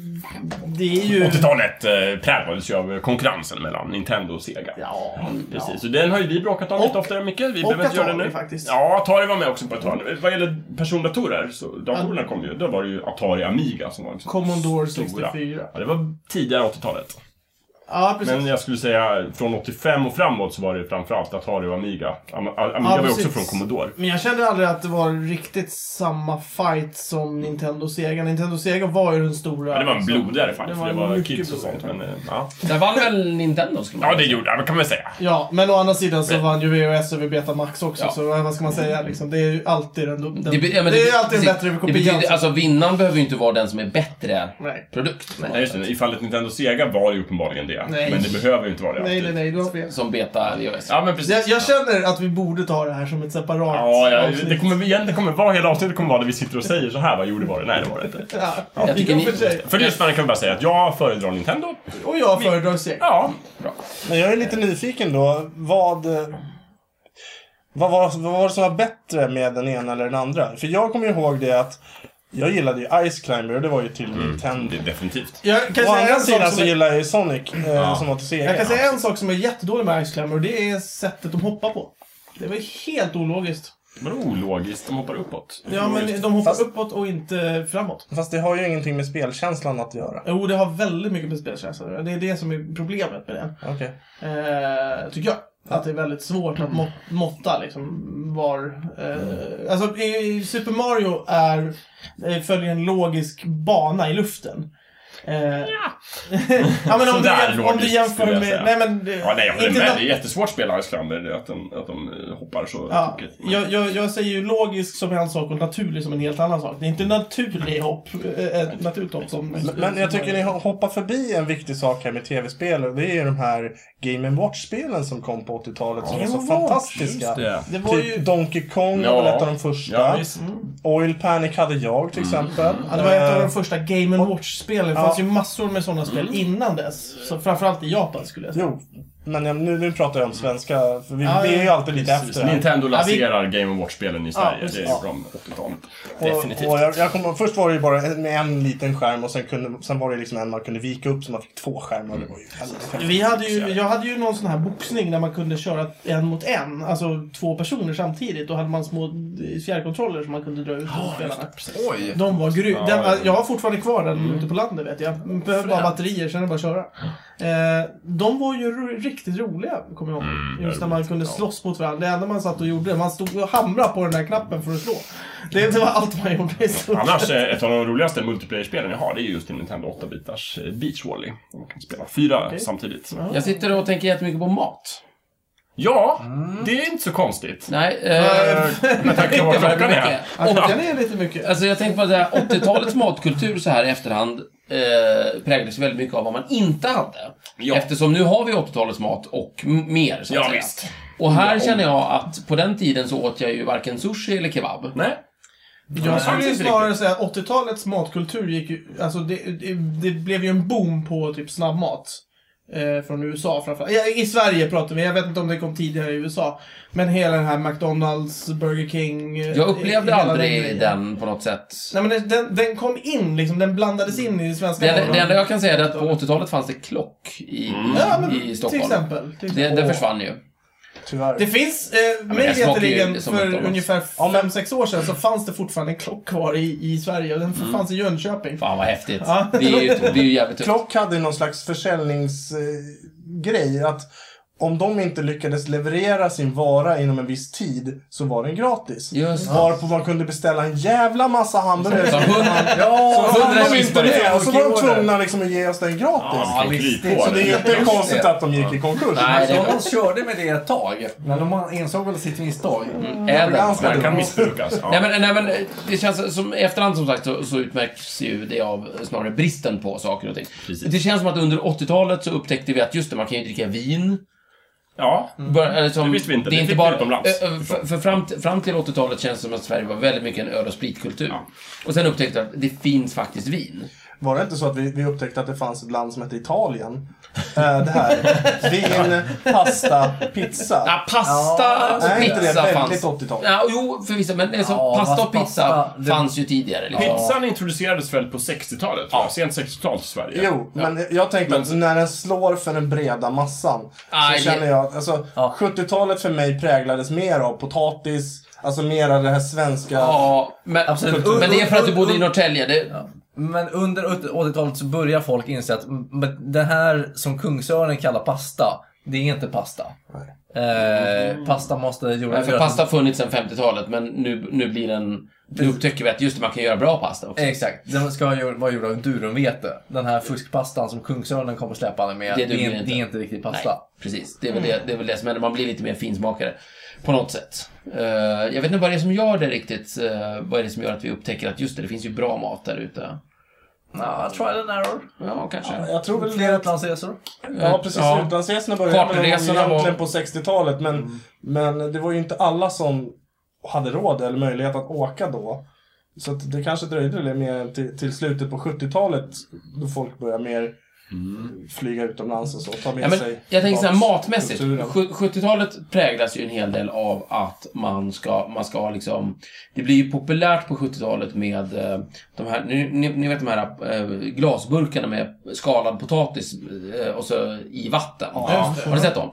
det är ju...
80-talet eh, präglades ju av konkurrensen mellan Nintendo och Sega.
Ja,
Precis, och den har ju vi bråkat om lite
Och-
oftare Micke. Vi
och
behöver inte göra det
Atari
nu.
faktiskt.
Ja, Atari var med också på ett hörn. Vad gäller persondatorer, så datorerna kom ju. Då var det ju Atari Amiga som var liksom
Commodore
stora.
64.
Ja, det var tidigare 80-talet.
Ja, precis.
Men jag skulle säga från 85 och framåt så var det framförallt Atari och Amiga. Am- A- Amiga var ju också
precis.
från Commodore.
Men jag kände aldrig att det var riktigt samma fight som Nintendo Sega. Nintendo Sega var ju den stora...
Ja, det var en blodigare fight,
Det
för
var
det var
mycket
kids och sånt. Men, eh, ja.
där vann väl Nintendo, skulle man
ja, det
säga.
gjorde det, kan man säga.
Ja, men å andra sidan så
Men-
vann ju VHS över Betamax också,
Ja.
så vad ska man säga liksom? Det är ju alltid den... den
be- ja, men
det är ju alltid en
precis.
bättre
Det
kopia.
betyder, alltså, vinnaren behöver ju inte vara den som är bättre
Nej.
produkt.
Nej, just det. I fallet Nintendo Sega var det ju uppenbarligen det.
Nej.
Men det behöver ju inte vara det
nej,
alltid.
nej, nej, du har fel.
Som beta VHS.
Ja, men precis.
Jag, jag känner att vi borde ta det här som ett separat
Ja, ja
avsnitt.
det kommer, igen, det kommer vara hela avsnittet kommer vara där vi sitter och säger så här, vad gjorde var det? Nej, det var det inte.
Ja,
Jag tycker
i och
ni-
för sig.
För lyssnarna kan vi bara säga att jag föredrar Nintendo.
Och jag föredrar Sega.
Ja.
Men jag är lite nyfiken då. Vad, eh, vad, var, vad var det som var bättre med den ena eller den andra? För jag kommer ju ihåg det att jag gillade ju Ice Climber och det var ju till Nintendo.
Det är definitivt.
Mm. Jag kan,
Å
säga
andra
en, sak
sidan så
som är,
gillar jag ju Sonic eh, som var till Sega.
jag kan säga en sak som är jättedålig med Ice Climber och det är sättet de hoppar på. Det var helt ologiskt.
Vadå ologiskt? De hoppar uppåt.
Ja, men de hoppar
Fast-
uppåt och inte framåt.
Fast det har ju ingenting med spelkänslan att göra.
Jo, det har väldigt mycket med spelkänsla att göra. Det är det som är problemet med den.
Okej.
Eh, tycker jag. Att det är väldigt svårt att må- måtta liksom var... Eh, alltså i Super Mario är, eh, följer en logisk bana i luften. Eh, ja. men om du,
Sådär
jäm- om du
logiskt,
jämför
skulle jag
med...
säga.
Nej men... eh,
Ja, nej, jag håller
inte
med.
nå-
Det är jättesvårt att spela Ice Climber, det är att de, att de eh, hoppar så
Ja,
tokigt. Men-
jag, jag, jag säger ju logisk som en sak och naturlig som en helt annan sak. Det är inte naturlig hopp, eh, ett naturligt hopp som...
Men jag tycker
Mm.
ni hoppar förbi en viktig sak här med tv-spel. och Det är ju de här Game Watch-spelen som kom på 80-talet som var så
Watch,
fantastiska.
det.
Det var ju...
Typ Donkey Kong
Ja.
var väl ett av de första.
Ja, visst.
Oil Panic hade jag till exempel.
Mm. Ja, det var ett av
Eh,
de första Game Watch-spelen. Det
Ja.
fanns ju massor med sådana spel innan dess. Så framförallt i Japan skulle jag säga.
Jo, men jag, nu, nu pratar jag om svenska. För vi,
Ja,
vi är ju
ja.
alltid lite efter. här.
Nintendo
Ja, vi-
lanserar Game Watch-spelen i Sverige.
precis.
det är ju från 80-talet.
Och,
Definitivt.
och jag, jag kommer- först var det ju bara en, med en liten skärm och sen, kunde, sen var det liksom en man kunde vika upp så man fick två skärmar. Det
Mm.
var ju väldigt häftigt.
Vi hade ju, jag hade ju någon sån här boxning där man kunde köra en mot en, alltså två personer samtidigt. Då hade man små fjärrkontroller som man kunde dra ut oh, spelarna.
Oj!
De var grym.
Ja,
den,
ja. Mm.
jag har fortfarande kvar den ute på landet vet jag. Behöver bara batterier, sen är det bara att köra. Eh, de var ju ro- riktigt roliga, kommer jag ihåg.
Mm,
Just när man kunde slåss mot varandra. Det enda man satt och gjorde, man stod och hamrade på den där knappen för att slå. Det, det var allt man gjorde i stort sett.
Annars, eh, ett av de roligaste multiplayer-spelen jag har, det är just till Nintendo 8-bitars eh, Beach Volley. Man kan spela fyra samtidigt.
Jag sitter och tänker jättemycket på mat.
Ja,
Mm.
det är inte så konstigt.
Nej, eh,
Med tanke på vad
inte vad
klockan är.
mycket.
Ja, klockan är lite mycket.
Alltså jag tänkte på det här, 80-talets matkultur så här i efterhand eh, präglades väldigt mycket av vad man inte hade.
Ja.
Eftersom nu har vi 80-talets mat och m- mer, så att
Ja,
säga.
visst.
Och här känner jag att på den tiden så åt jag ju varken sushi eller kebab.
Nej.
Jag skulle
inte
ju
riktigt.
snarare säga att 80-talets matkultur gick ju... Alltså det, det, det blev ju en boom på typ snabbmat. Eh, från USA framförallt. Ja, I Sverige pratar vi, jag vet inte om det kom tidigare i USA. Men hela den här McDonalds, Burger King... eh,
Jag upplevde
hela den
aldrig
grejen.
den på något sätt.
Nej men den- den, den kom in liksom, den blandades in i det svenska
Det, det enda
vardagen.
jag kan säga är att på 80-talet fanns det klock i,
Mm.
Ja, men
i
till
Stockholm.
exempel. Till
Det,
exempel.
det försvann ju.
Tyvärr.
Det finns, eh, mig
det smakar ju
veterligen,
som
för
McDonald's.
ungefär 5-6 år sedan så fanns det fortfarande en klock kvar i, i Sverige och den fanns i Jönköping.
Fan vad häftigt.
Ja.
Det är ju, det är ju jävligt tufft.
Klock hade ju någon slags försäljningsgrej. Att om de inte lyckades leverera sin vara inom en viss tid så var den gratis.
Just det.
Varpå man kunde beställa en jävla massa hamburgare.
Så hundra-
Ja, så
hundra
hann de
kiss
inte
var det.
det. Och så var de
Okej,
tvungna liksom att ge oss den gratis.
Ja,
visst.
kryphål.
Så det är ju inte
Just
konstigt
det.
att de gick i konkurs.
Nej, det är
McDonalds körde med det ett tag, Mm. men de insåg väl sitt misstag.
är det.
ganska
Den kan
dumt.
missbrukas. Ja.
Nej men, nej men det känns som, i efterhand som sagt så, så utmärks ju det av snarare bristen på saker och ting.
Precis.
Det känns som att under 80-talet så upptäckte vi att just det, man kan ju dricka vin.
ja.
Bara, eller som,
Det visste vi inte. Det
är inte
fick vi
bara,
utomlands.
Ö, ö, för för fram, t- fram till 80-talet känns det som att Sverige var väldigt mycket en öl och spritkultur.
Ja.
Och sen upptäckte jag att det finns faktiskt vin.
Var det inte så att vi, vi upptäckte att det fanns ett land som hette Italien? Eh, det här. Vin, pasta, pizza.
Ja, pasta och
är inte det
pizza
väldigt
fanns.
80-tal?
Ja, jo, förvisso, men det är så,
Ja,
pasta och
fast
pizza
pasta- det-
fanns ju tidigare. Liksom.
Pizzan introducerades väl på 60-talet? Ja. Sent 60-tal till Sverige.
Jo, men jag tänkte att när den slår för den breda massan
Aj,
så känner jag att alltså,
Ja.
70-talet för mig präglades mer av potatis, alltså mer av det här svenska.
Ja, men,
Absolut.
men det är för att du bodde i Norrtälje. Det,
Men under 80-talet så börjar folk inse att mm, men det här som Kungsören kallar pasta, det är inte pasta. Eh, pasta måste
Nej,
göra...
för pasta har funnits sedan 50-talet, men nu, nu blir den... Nu upptäcker vi att just det, man kan göra bra pasta också.
Exakt. Den ska ha gjort- vara gjord av durumvete. Den här fuskpastan som Kungsörnen kommer släpande med,
Det
det,
duger
är,
inte.
det är inte riktigt
Nej,
pasta.
precis. Det är, väl det, det är väl det som händer. Man blir lite mer finsmakare. På något sätt. Eh, jag vet inte vad det är som gör det riktigt. eh, vad är det som gör att vi upptäcker att just det, det finns ju bra mat där ute.
Ja, trial and error.
Ja, kanske.
Jag tror väl
Fler
det
utlandsresor.
Ja, precis.
Eh, Ja.
Utlandsresorna började väl
Kartresorna var- Mm.
egentligen på 60-talet. Men, men det var ju inte alla som hade råd eller möjlighet att åka då. Så att det kanske dröjde lite mer till, till slutet på 70-talet då folk började mer flyga utomlands och så. Ta med
Mm. Ja, men
sig
jag tänker så här
tillbaks
matmässigt.
kulturen.
Sju- 70-talet präglas ju en hel del av att man ska, man ska liksom... Det blir ju populärt på 70-talet med eh, de här, ni, ni, ni vet de här eh, glasburkarna med skalad potatis eh, och så i vatten.
just det.
Har ni sett dem?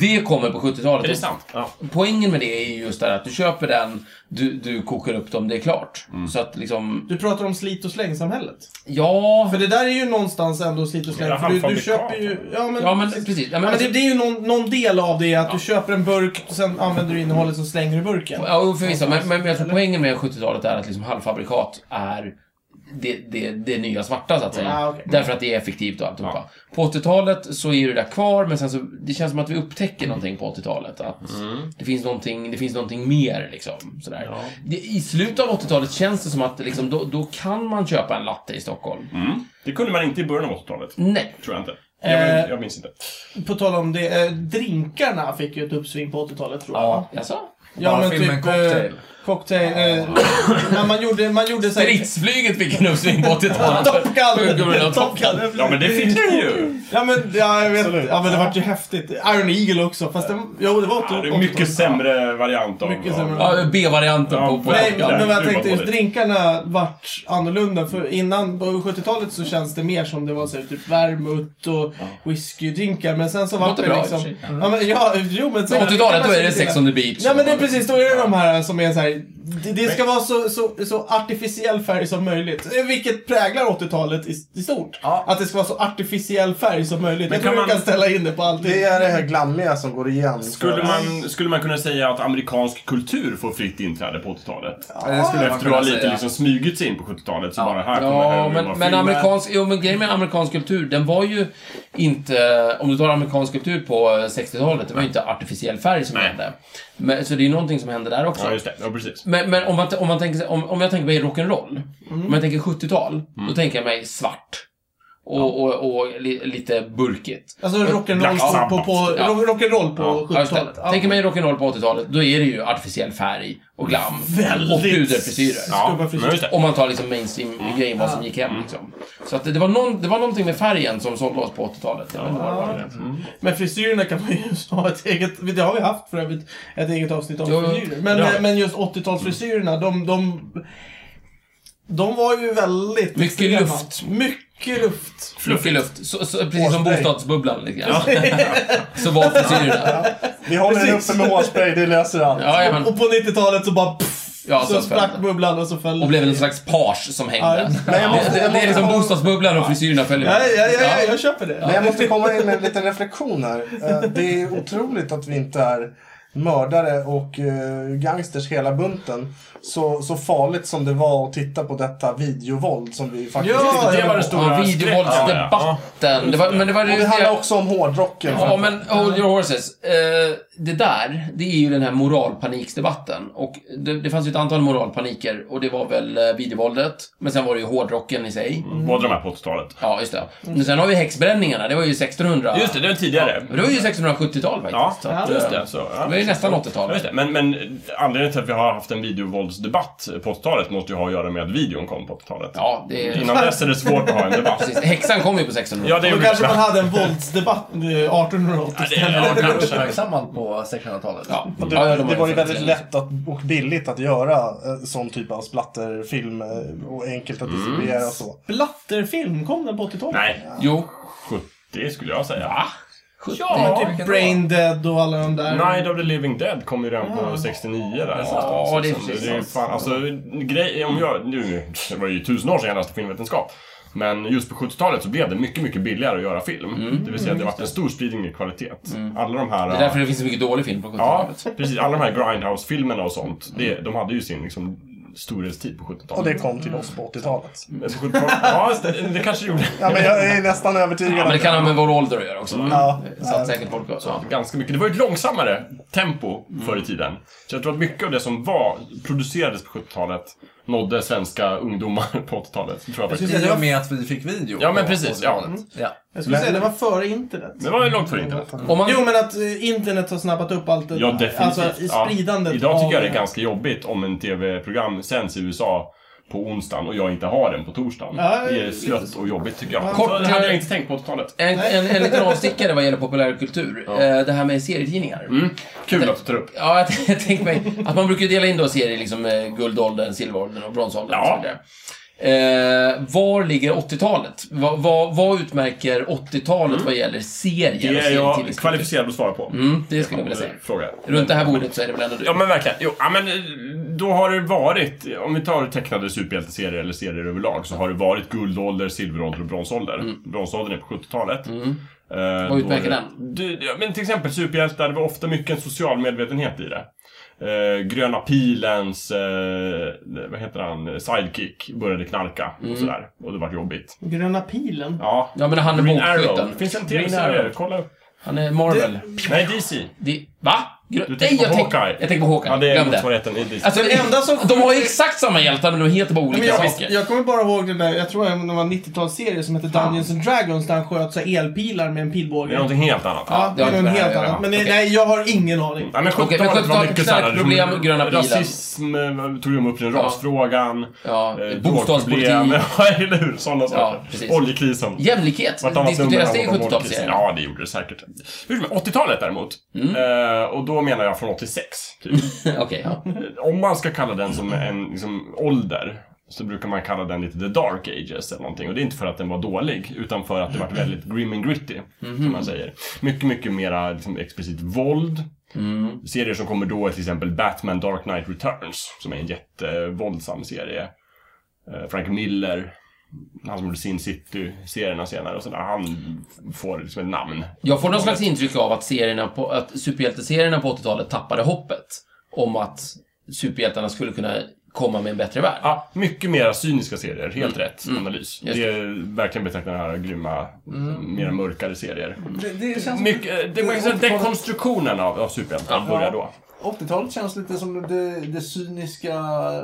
Det kommer på 70-talet.
Är det sant? Ja.
Poängen med det är ju just det här att du köper den, du, du kokar upp dem, det är klart. Så att liksom,
Du pratar om slit och slängsamhället.
ja...
För det där är ju någonstans ändå slit och
Mera
släng. För du, du
halvfabrikat.
köper ju... Ja, men,
Ja men precis. Ja,
Ja,
men,
men
alltså,
det, det är ju någon, någon del av det, att du köper en burk, och sen använder du innehållet, så slänger du burken.
Ja, jo, förvisso. Men, men jag tror poängen med 70-talet är att liksom halvfabrikat är det, det, det nya svarta, så att säga.
Ah, okej.
Därför att det är effektivt och alltihopa. På 80-talet så är det där kvar, men sen så, det känns som att vi upptäcker någonting på 80-talet. Att
Mm.
det, finns någonting, det finns någonting mer, liksom. Sådär. Det, I slutet av 80-talet känns det som att liksom, då, då kan man köpa en latte i Stockholm.
Mm. Det kunde man inte i början av 80-talet.
Nej.
Tror jag inte. Jag,
Eh.
jag minns inte.
På tal om det, eh, drinkarna fick ju ett uppsving på 80-talet tror jag.
Ja.
Alltså,
Bara filmen Cocktail.
eh, cocktail eh, när man gjorde, man gjorde så här-
stridsflyget fick en uppsving på 80-talet.
Top Gun.
På grund av
Top
Top Gun.
Gun.
Ja, men det fick ni ju!
Ja men, ja, jag vet,
Absolut.
ja, men det vart ju häftigt. Iron Eagle också, fast det, jo, det var
Ja, det
80-talet.
är mycket sämre variant av...
Mycket sämre.
Ja, B-varianten
Ja,
på, på
Nej,
Top Gun.
men men vad jag
Det var
tänkte just
dåligt.
drinkarna vart annorlunda. För innan, på 70-talet så känns det mer som det var så här, typ vermouth och whiskydrinkar. Men sen så vart
Låter
det
bra i och
liksom...
för sig.
Ja, men, ja, jo, men sen,
80-talet, då är det Sex on the beach.
Ja men det är precis, då är det de här som är så här Det, det ska vara så, så, så artificiell färg som möjligt. Eh, Vilket präglar 80-talet i, i stort.
Ja.
Att det ska vara så artificiell färg som möjligt.
Men
jag tror
kan
man... du
man-
kan ställa in det på allting.
Det är det här glammiga som går igen.
Skulle man, skulle man kunna säga att amerikansk kultur får fritt inträde på 80-talet?
Det skulle man
Efter att ha
kunna
lite
säga.
liksom smugit sig in på 70-talet så bara här kommer
Ja,
här
men, men, amerikansk, jo, men grejen med amerikansk kultur, den var ju inte... Om du tar amerikansk kultur på eh, 60-talet, det var ju inte artificiell färg som
Nej.
hände. Men, så det är någonting som hände där också.
Ja, just det. Mm. Ja, precis.
Men, men om, man, t- om, man tänker, sig- om, om jag tänker mig rock'n'roll, om jag tänker 70-tal,
Mm.
då tänker jag mig svart. Och, och, och li, lite burkigt.
Alltså
Black
rock'n'roll på, på,
Sabbath.
på,
Ja.
rock- rock'n'roll på
Ja, just det.
70-talet. Ja.
Tänker mig rock'n'roll på 80-talet, då är det ju artificiell färg och glam. Och puderfrisyrer.
Ja,
Skrubba
men
frisyr.
just det.
Om man tar liksom mainstream-grejen, vad som gick hem liksom. Så att det, det, var någon, det var någonting med färgen som sålde oss på 80-talet. Jag vet inte vad det Mm. var.
Men frisyrerna kan man ju ha ett eget, det har vi haft för övrigt, ett eget avsnitt om
Jo, jo.
frisyrer. Men,
Ja.
men just 80-talsfrisyrerna, de, de, de var ju väldigt
Mycket
extrema.
luft.
Mycket luft.
Fluffig luft. Så, så, precis som
Åsbrink.
bostadsbubblan. Liksom. Så var frisyrerna.
Vi håller den
Precis.
uppe med hårspray, det löser allt.
Ja, ja, men,
Och på 90-talet så bara pff,
Ja,
så,
så föll
sprack
det.
bubblan och så föll
och blev en slags page som
Ja,
hängde.
Men jag måste,
Det,
jag
det
måste
är liksom
komma-
bostadsbubblan och frisyrerna följer
Ja, ja, ja, ja,
Ja.
jag köper det.
Men jag måste komma in med en liten reflektion här. Eh, Det är otroligt att vi inte är mördare och eh, gangsters hela bunten. Så, så farligt som det var att titta på detta videovåld som vi faktiskt
Ja,
tittade
det var det
på.
stora
Ja,
skräck- Ja,
videovåldsdebatten. Det var, men det var
Och det handlar också om hårdrocken.
Ja, men hold your horses. Eh, det där, det är ju den här moralpaniksdebatten. Och det, det fanns ju ett antal moralpaniker och det var väl eh, videovåldet. Men sen var det ju hårdrocken i sig.
ja. Båda de här på 80-talet.
Ja, just det. Men sen har vi häxbränningarna, det var ju 1600...
Just det, det var tidigare.
Men det var ju 1670-tal faktiskt.
Ja,
Så att,
just
eh,
det. Så, ja.
Det var ju nästan
Ja,
80-tal.
just det. Men, men anledningen till att vi har haft en videovåldsdebatt på 80-talet måste ju ha att göra med att videon kom på 80-talet.
Ja, det är...
Innan dess är det svårt att ha en debatt.
Precis. Häxan kom ju på 1600
Ja, det
Då
gjorde
kanske man
det.
hade en våldsdebatt eh, 1880
Ja, det är-
istället.
ja, kanske.
Uppmärksammad på 1600-talet.
Ja.
Och
Ja, ja,
Det,
de har
det var ju
funnits länge.
väldigt lätt att, och billigt att göra eh, sån typ av splatterfilm eh, och enkelt
Mm.
att distribuera och så.
Blatterfilm, kom den på 80-talet?
Nej,
Jo.
70 skulle jag säga. Va?
Men
Ja,
typ Brain Dead och alla de där.
Night of the Living Dead kom ju redan på 69 där.
Mm.
Alltså,
Ja, det är
Så
precis
det är
sant.
fan, alltså, grej, om jag, nu, det var ju tusen år sedan jag läste filmvetenskap. Men just på 70-talet så blev det mycket, mycket billigare att göra film. det vill säga att det varit en stor spridning i kvalitet. Alla de här...
Mm. det är därför det finns så mycket dålig film på 70-talet.
Ja, precis. Alla de här Grindhouse-filmerna och sånt. Det, de hade ju sin liksom, storhetstid på
Och
70-talet.
det kom till oss på 80-talet.
Men så 70-talet- Ja, det, det kanske gjorde.
Ja,
Mm.
men jag är nästan övertygad
Men
om
det kan ha med vår ålder att göra också. va?
Ja.
Det satt säkert folk och... Ja.
ganska mycket. Det var ju ett långsammare tempo förr i tiden. Så jag tror att mycket av det som var producerades på 70-talet nådde svenska ungdomar på 80-talet. Det tror jag faktiskt.
I och med att vi fick video.
Ja, men
på
precis, ja.
80-talet. ja.
Jag skulle säga det var före internet.
Det var ju långt före internet.
Om man...
Jo, men att eh, internet har snabbat upp allt det
Ja,
där.
definitivt.
Alltså i
Ja.
spridandet
Idag tycker
av
jag det är ganska jobbigt om en TV-program sänds i USA på onsdagen och jag inte har den på torsdagen.
Ja,
det är slött och jobbigt tycker jag.
Kort-
Så det hade jag inte tänkt på 80-talet.
En, en, en liten avstickare vad gäller populärkultur. Eh, Det här med serietidningar.
Mm. Kul att du tar upp.
Ja, jag, t- jag tänkte mig att man brukar dela in då serier liksom eh, guldåldern, silveråldern och bronsåldern och
Ja.
så vidare. Eh, var ligger 80-talet? Vad, vad, vad utmärker 80-talet vad gäller serier?
Mm. Det
och
är jag
serietidningskultur?
kvalificerad att svara på. Eh,
Mm, det skulle jag vilja säga.
Fråga.
Runt det här bordet så är det väl ändå du?
Ja men verkligen. Jo, ja, men eh, då har det varit, om vi tar tecknade superhjälteserier eller serier överlag, så har det varit guldålder, silverålder och bronsålder. Bronsåldern är på 70-talet. Eh,
Vad utmärker
då är det- Du, ja, men till exempel superhjältar, det var ofta mycket en social medvetenhet i det. Eh, Gröna pilens, eh, vad heter han, sidekick började knarka och sådär. Och det var jobbigt.
eh, Gröna pilen.
Ja.
Ja, men han är
Green Arrow.
bågskytten.
Finns en
Green
tv-serie,
Arrow.
kolla upp.
Han är Marvel.
Nej, DC.
Det... Va? Gr-
Du tänker
Nej,
på
jag tänk-
Hawkeye.
Jag tänker på Hawkeye.
Ja, det är
Glöm det.
motsvarigheten i DC.
Alltså,
Den enda som-
de har ju exakt samma hjältar, men de heter bara olika
Men jag,
saker.
jag kommer bara ihåg den där, jag tror det var en 90-talsserie som hette Dungeons and Dragons där han sköt så här elpilar med en
Det är
pilbåge.
någonting helt annat.
Ja, det
det har
är
inte
en
med det här
helt
att göra.
annat. Men nej,
Okej.
nej, jag har ingen aning.
Ja, men
Okej,
70-talet
men
var
70-talet
mycket såhär...
knarkproblem, gröna bilen.
Rasism eh, tog de upp, den rasfrågan.
Ja,
eh,
bostadspolitik.
drogproblem. Ja, eller hur? Sådana
precis.
saker. Oljekrisen.
Jämlikhet,
Vartannat
diskuteras det i
nummer handlar om
70-talsserien?
oljekrisen. Ja, det gjorde det säkert. Hur som helst, 80-talet däremot.
Mm.
Eh, och då menar jag från 86, typ.
Okej, ja.
Om man ska kalla den som en liksom, ålder så brukar man kalla den lite the dark ages eller någonting. Och det är inte för att den var dålig, utan för att det var väldigt grim and gritty, som man säger. Mycket, mycket mera liksom, explicit våld. Serier som kommer då är till exempel Batman Dark Knight Returns, som är en jättevåldsam serie. Eh, Frank Miller, han som gjorde Sin City-serierna senare och sådär, han får liksom ett namn.
Jag får någon slags intryck av att, serierna på, att superhjälteserierna på 80-talet tappade hoppet om att superhjältarna skulle kunna komma med en bättre värld.
Ja, mycket mera cyniska serier. Helt rätt analys.
Mm. Just Mm.
Det är verkligen betecknar det här grymma, mera mörkare serier.
Det, det känns som-
Mycket, eh, det, man kan säga att dekonstruktionen av, av superhjältar
Ja.
börjar då.
80-talet känns lite som det, det cyniska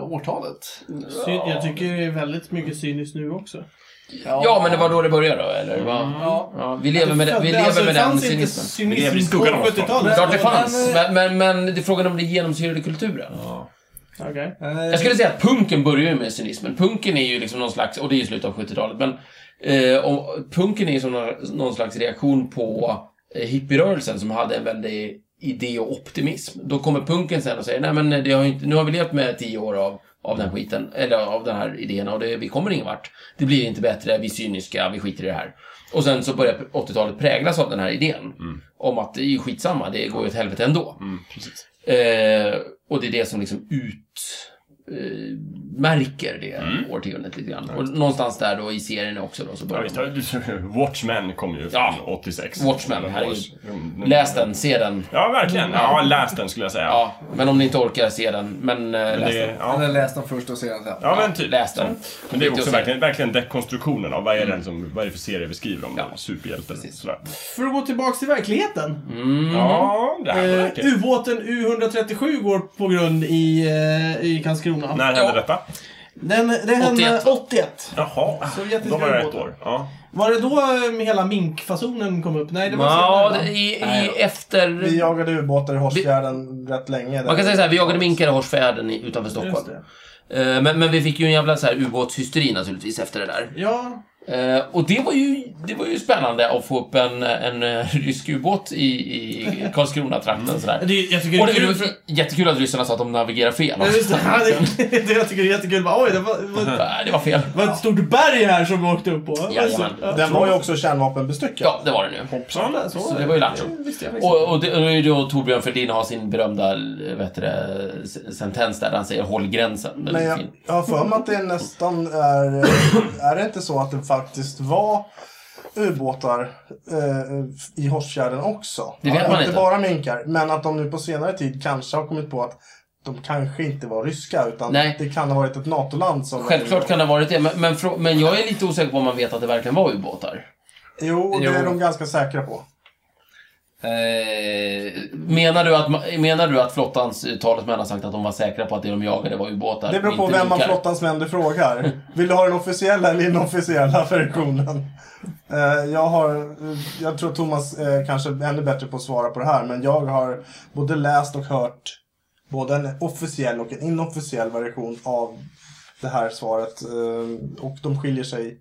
årtalet.
Mm.
Syn, jag tycker det är väldigt mycket cyniskt nu också.
Ja, men det var då det började då, eller? vad?
Ja.
Ja, vi lever med, den- vi lever
Mm. Alltså,
med
det
den
fanns inte
cynismen.
Vi lever i
cynism på
skuggan av oss,
70-talet.
Klart det
Men-
fanns, men, men, men det är frågan om det genomsyrade kulturen.
Okej.
Eh,
Jag skulle säga att punken börjar ju med cynismen. Punken är ju liksom någon slags, och det är ju slutet av 70-talet, men eh, om, punken är ju som någon, någon slags reaktion på eh, hippierörelsen som hade en väldig idé och optimism. Då kommer punken sen och säger, nej men det har ju inte, nu har vi levt med tio år av, av den skiten, eller av den här idén och det, vi kommer ingen vart. Det blir inte bättre, vi är cyniska, vi skiter i det här. Och sen så börjar 80-talet präglas av den här idén. Om att det är ju skitsamma, det går ju åt helvete ändå.
Mm, precis.
Eh, och det är det som liksom ut eh, märker det årtiondet lite grann. Och någonstans där då i serien också då så
Mm. Ja,
börjar
visst,
de-
har- Watchmen kom ju från
Ja.
86.
Watchmen,
Eller
herregud.
Watch- mm,
Läs den, se den.
Ja, verkligen. Ja, läs den skulle jag säga.
Ja, men om ni inte orkar se den, men eh,
Men
läs
det,
den.
ja.
Eller läs dem först och sedan sen.
ja, men typ.
Läs den.
Men det är
Viktigt
också
att se. Mm.
verkligen, verkligen dekonstruktionen av vad är, det som, vad är det för serie vi skriver om?
Ja.
Superhjälten. Sådär.
För att gå tillbaks till verkligheten.
Mm.
Mm.
Ja, det här var
Eh,
verkligen.
Ubåten U137 går på grund i, eh, i Karlskrona.
När hände
Ja.
detta?
Den, det hände
81.
81.
Jaha,
Alltså,
Sovjetiska
då var jag ett
ubåtar.
år. Ja.
Var det då eh, hela minkfasonen kom upp? Nej, det var
Ja,
senare,
det-
va?
i, i efter...
Vi jagade ubåtar i Hårsfjärden rätt länge.
Man kan säga så här, vi jagade minkar i Hårsfjärden i- utanför
Just
Stockholm.
det.
Eh, Men, men vi fick ju en jävla så här ubåtshysteri naturligtvis efter det där.
Ja,
Eh, och det var, ju, det var ju spännande att få upp en, en eh, rysk ubåt i, i i Karlskrona-trakten sådär.
det, jag tycker
Och
det
det
är kul.
var
För,
ju jättekul att ryssarna sa att de navigerar fel.
Ja, just det, Ja,
det,
det, det jag tycker är jättekul. Bara, Oj, det var, var,
Nej, det var fel.
var ett stort berg här som vi åkte upp på.
Jajamän.
Ja.
Den var ju också kärnvapenbestyckad.
Ja, det var det nu.
Hoppsan.
Så det var ju lattjo.
Visst, jag visste.
Och, och det och det är ju då Torbjörn Fälldin har sin berömda eh, vad heter det, s- sentens där han säger håll gränsen.
Men
Väldigt
jag,
fin.
jag har för mig att det nästan är... eh, Är det inte så att det faktiskt var ubåtar eh, i Hårsfjärden också?
Det vet
Ja,
man
inte.
inte.
bara minkar. Men att de nu på senare tid kanske har kommit på att de kanske inte var ryska utan
Nej.
det kan ha varit ett NATO-land som...
Självklart kan det ha varit det, men, men, frå- men jag är lite osäker på om man vet att det verkligen var ubåtar.
Jo, det är
Jo.
de ganska säkra på.
Eh, menar, du att, ma- menar du att flottans eh, talesmän har sagt att de var säkra på att det de jagade var ubåtar?
Det beror på
inte
vem av
minkar?
flottans män du frågar. Vill du ha den officiella eller inofficiella versionen? Eh, Jag, har, eh, jag tror Thomas eh, kanske är ännu bättre på att svara på det här, men jag har både läst och hört både en officiell och en inofficiell version av det här svaret. eh, Och de skiljer sig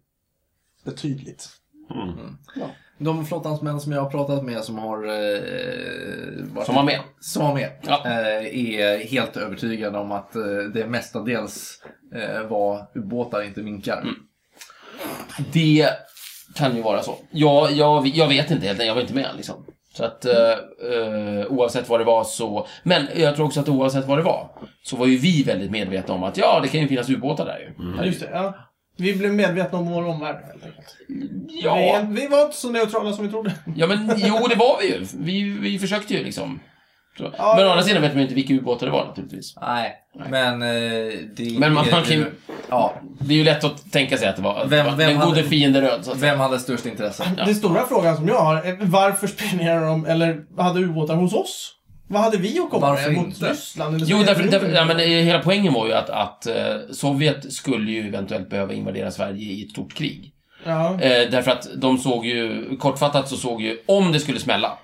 betydligt.
De flottans män som jag har pratat med som har... Eh, varit-
Som var med.
Som var med.
Ja.
Eh, är helt övertygade om att eh, det mestadels eh, var ubåtar, inte minkar.
Mm. Det kan ju vara så. Jag, jag, jag vet inte helt enkelt, jag var inte med liksom. Så att eh, eh, oavsett vad det var så... Men jag tror också att oavsett vad det var så var ju vi väldigt medvetna om att ja, det kan ju finnas ubåtar där ju.
Mm.
Ja, just det. Ja. Vi blev medvetna om vår omvärld. helt enkelt.
Ja,
Vi, vi var inte så neutrala som vi trodde.
ja, men jo, det var vi ju. Vi, vi försökte ju liksom. Så.
Ja,
Men å
ja.
andra sidan vet man ju inte vilka ubåtar det var naturligtvis.
Nej, men eh, det
Men man-
är
man kan ju-
Ja,
Det är ju lätt att tänka sig att det var
Vem-
att
vem
den gode
hade-
fiende röd. Så att,
vem hade störst intresse?
Ja.
Den stora frågan som jag har är varför spionerade de eller hade ubåtar hos oss? Vad hade vi att komma
Varför
med mot
inte?
Ryssland? Eller
Jo, därför,
Sovjetunionen?
därför, ja, men eh, hela poängen var ju att, att eh, Sovjet skulle ju eventuellt behöva invadera Sverige i ett stort krig.
ja.
Eh, därför att de såg ju, kortfattat så såg ju, om det skulle smälla,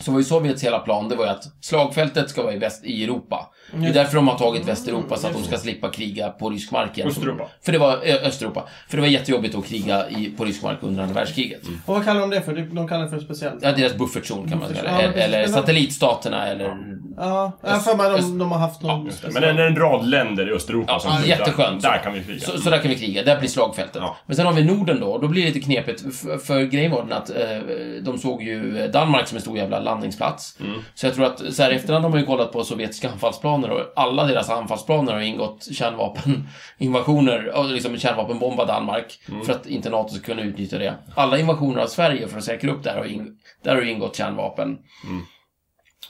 så var ju Sovjets hela plan, det var ju att slagfältet ska vara i, väst, i Europa. Det är därför de har tagit Västeuropa, så att de ska slippa kriga på rysk mark igen.
Östeuropa.
För det var, ö, Östeuropa. För det var jättejobbigt att kriga i, på rysk mark under andra världskriget.
Och vad kallar de det för? De kallar det för speciellt.
Ja, deras buffertzon kan man säga.
Ja,
Eller,
precis.
eller satellitstaterna, eller
Ja, jag har för mig de, de har haft någon...
Just det. Men det är en rad länder i Östeuropa
Ja,
som
ja,
där-
jätteskönt.
Där kan vi flyga.
Så, så där kan vi kriga, där blir slagfältet.
Ja.
Men sen har vi Norden då, och då blir det lite knepigt. För, för grejen var den att eh, de såg ju Danmark som en stor jävla landningsplats. Så jag tror att så här i efterhand har man ju kollat på sovjetiska anfallsplaner och alla deras anfallsplaner har ingått kärnvapeninvasioner, ja, liksom kärnvapenbomba Danmark för att inte NATO ska kunna utnyttja det. Alla invasioner av Sverige för att säkra upp det här har, ing- där har ju ingått kärnvapen.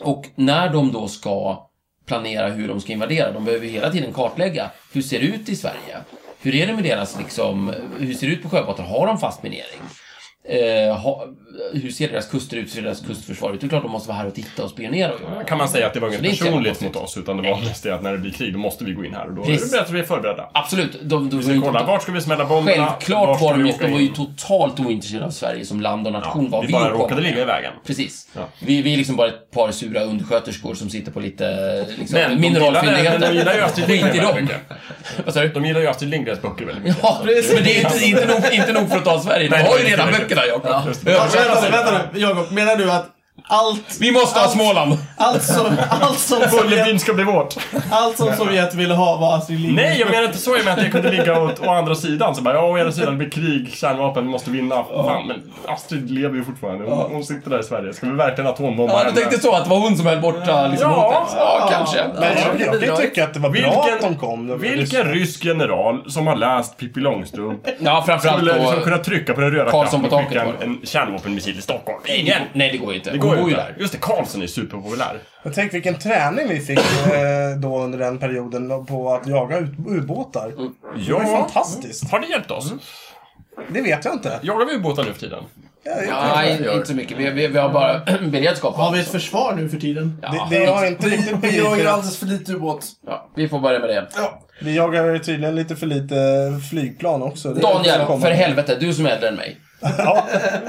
Och när de då ska planera hur de ska invadera, de behöver ju hela tiden kartlägga hur ser det ut i Sverige? Hur är det med deras liksom, hur ser det ut på sjöbotten? Har de fast minering? Eh, ha, hur ser deras kuster ut? Hur ser deras kustförsvar ut? Det är klart de måste vara här och titta och spionera och göra.
kan man säga att det var inget
Så det är inte
personligt
jävla
mot oss, utan det var mest det att när det blir krig, då måste vi gå in här. Och då är
Precis.
det bättre att vi är förberedda.
Absolut, de, de,
Vi ska kolla, vart ska vi smälla bomberna?
Självklart
ska
var de,
vi
ju-
åka
de var ju
in?
totalt ointresserade av Sverige som land och
Ja,
nation. vad
Vi bara
kom
råkade
med.
ligga i vägen.
Precis.
Ja.
Vi, vi är liksom bara ett par sura undersköterskor som sitter på lite liksom,
Men de gillar-
mineralfyndigheter.
men de gillar ju Astrid
Skit i
Lindgren
dem.
väldigt
Vad sa du?
De gillar ju Astrid Lindgrens böcker väldigt mycket.
Ja, precis. Men det är inte, inte, nog, inte nog för att ta Sverige. De
Nej,
har ju
det är
redan
inte
böckerna, Jakob.
Ja, vänta, nu, vänta nu, Jakob. Menar du att allt,
Vi måste ha Småland.
allt, som, allt, som
Bullerbyn
Sovjet,
ska bli vårt.
allt som Sovjet ville ha var alltså Astrid Lindgren?
Nej, jag menar inte så. Jag menar att jag kunde ligga åt, å andra sidan. Så bara, ja, å ena sidan, det blir krig, kärnvapen, vi måste vinna. Fan, men Astrid lever ju fortfarande. Hon, hon sitter där i Sverige. Ska vi verkligen atombomba
Ja, du tänkte så att det var hon som höll borta liksom,
Ja.
hotet? Ja, kanske.
Men jag, jag kan ju tycka att det var bra att de kom. Det var
vilken rysk general som har läst Pippi Långstrump
Ja, framförallt
skulle liksom
då...
kunna trycka på den röda
Karlsson
knappen
på
och
taket
skicka
bara.
en, en kärnvapenmissil i Stockholm? Ingen!
Ingen. Nej, det går ju inte.
Det går ju inte. Just det, Karlsson är superpopulär.
Jag tänk vilken träning vi fick eh, då under den perioden på att jaga ut- ubåtar.
Ja,
Det är fantastiskt.
Har det hjälpt oss?
Mm.
Det vet jag inte.
Jagar vi ubåtar nu för tiden?
Jag, jag,
Nej, inte så mycket. Vi, vi, vi har bara beredskap.
Har vi ett försvar nu för tiden?
Ja,
det, det har inte riktigt
Vi jagar
begripit. att-
alldeles för lite ubåt.
ja, vi får börja med det.
Vi jagar tydligen lite för lite flygplan också. Det är också
Daniel,
kommer.
för helvete. Du som är äldre än mig.
Ja,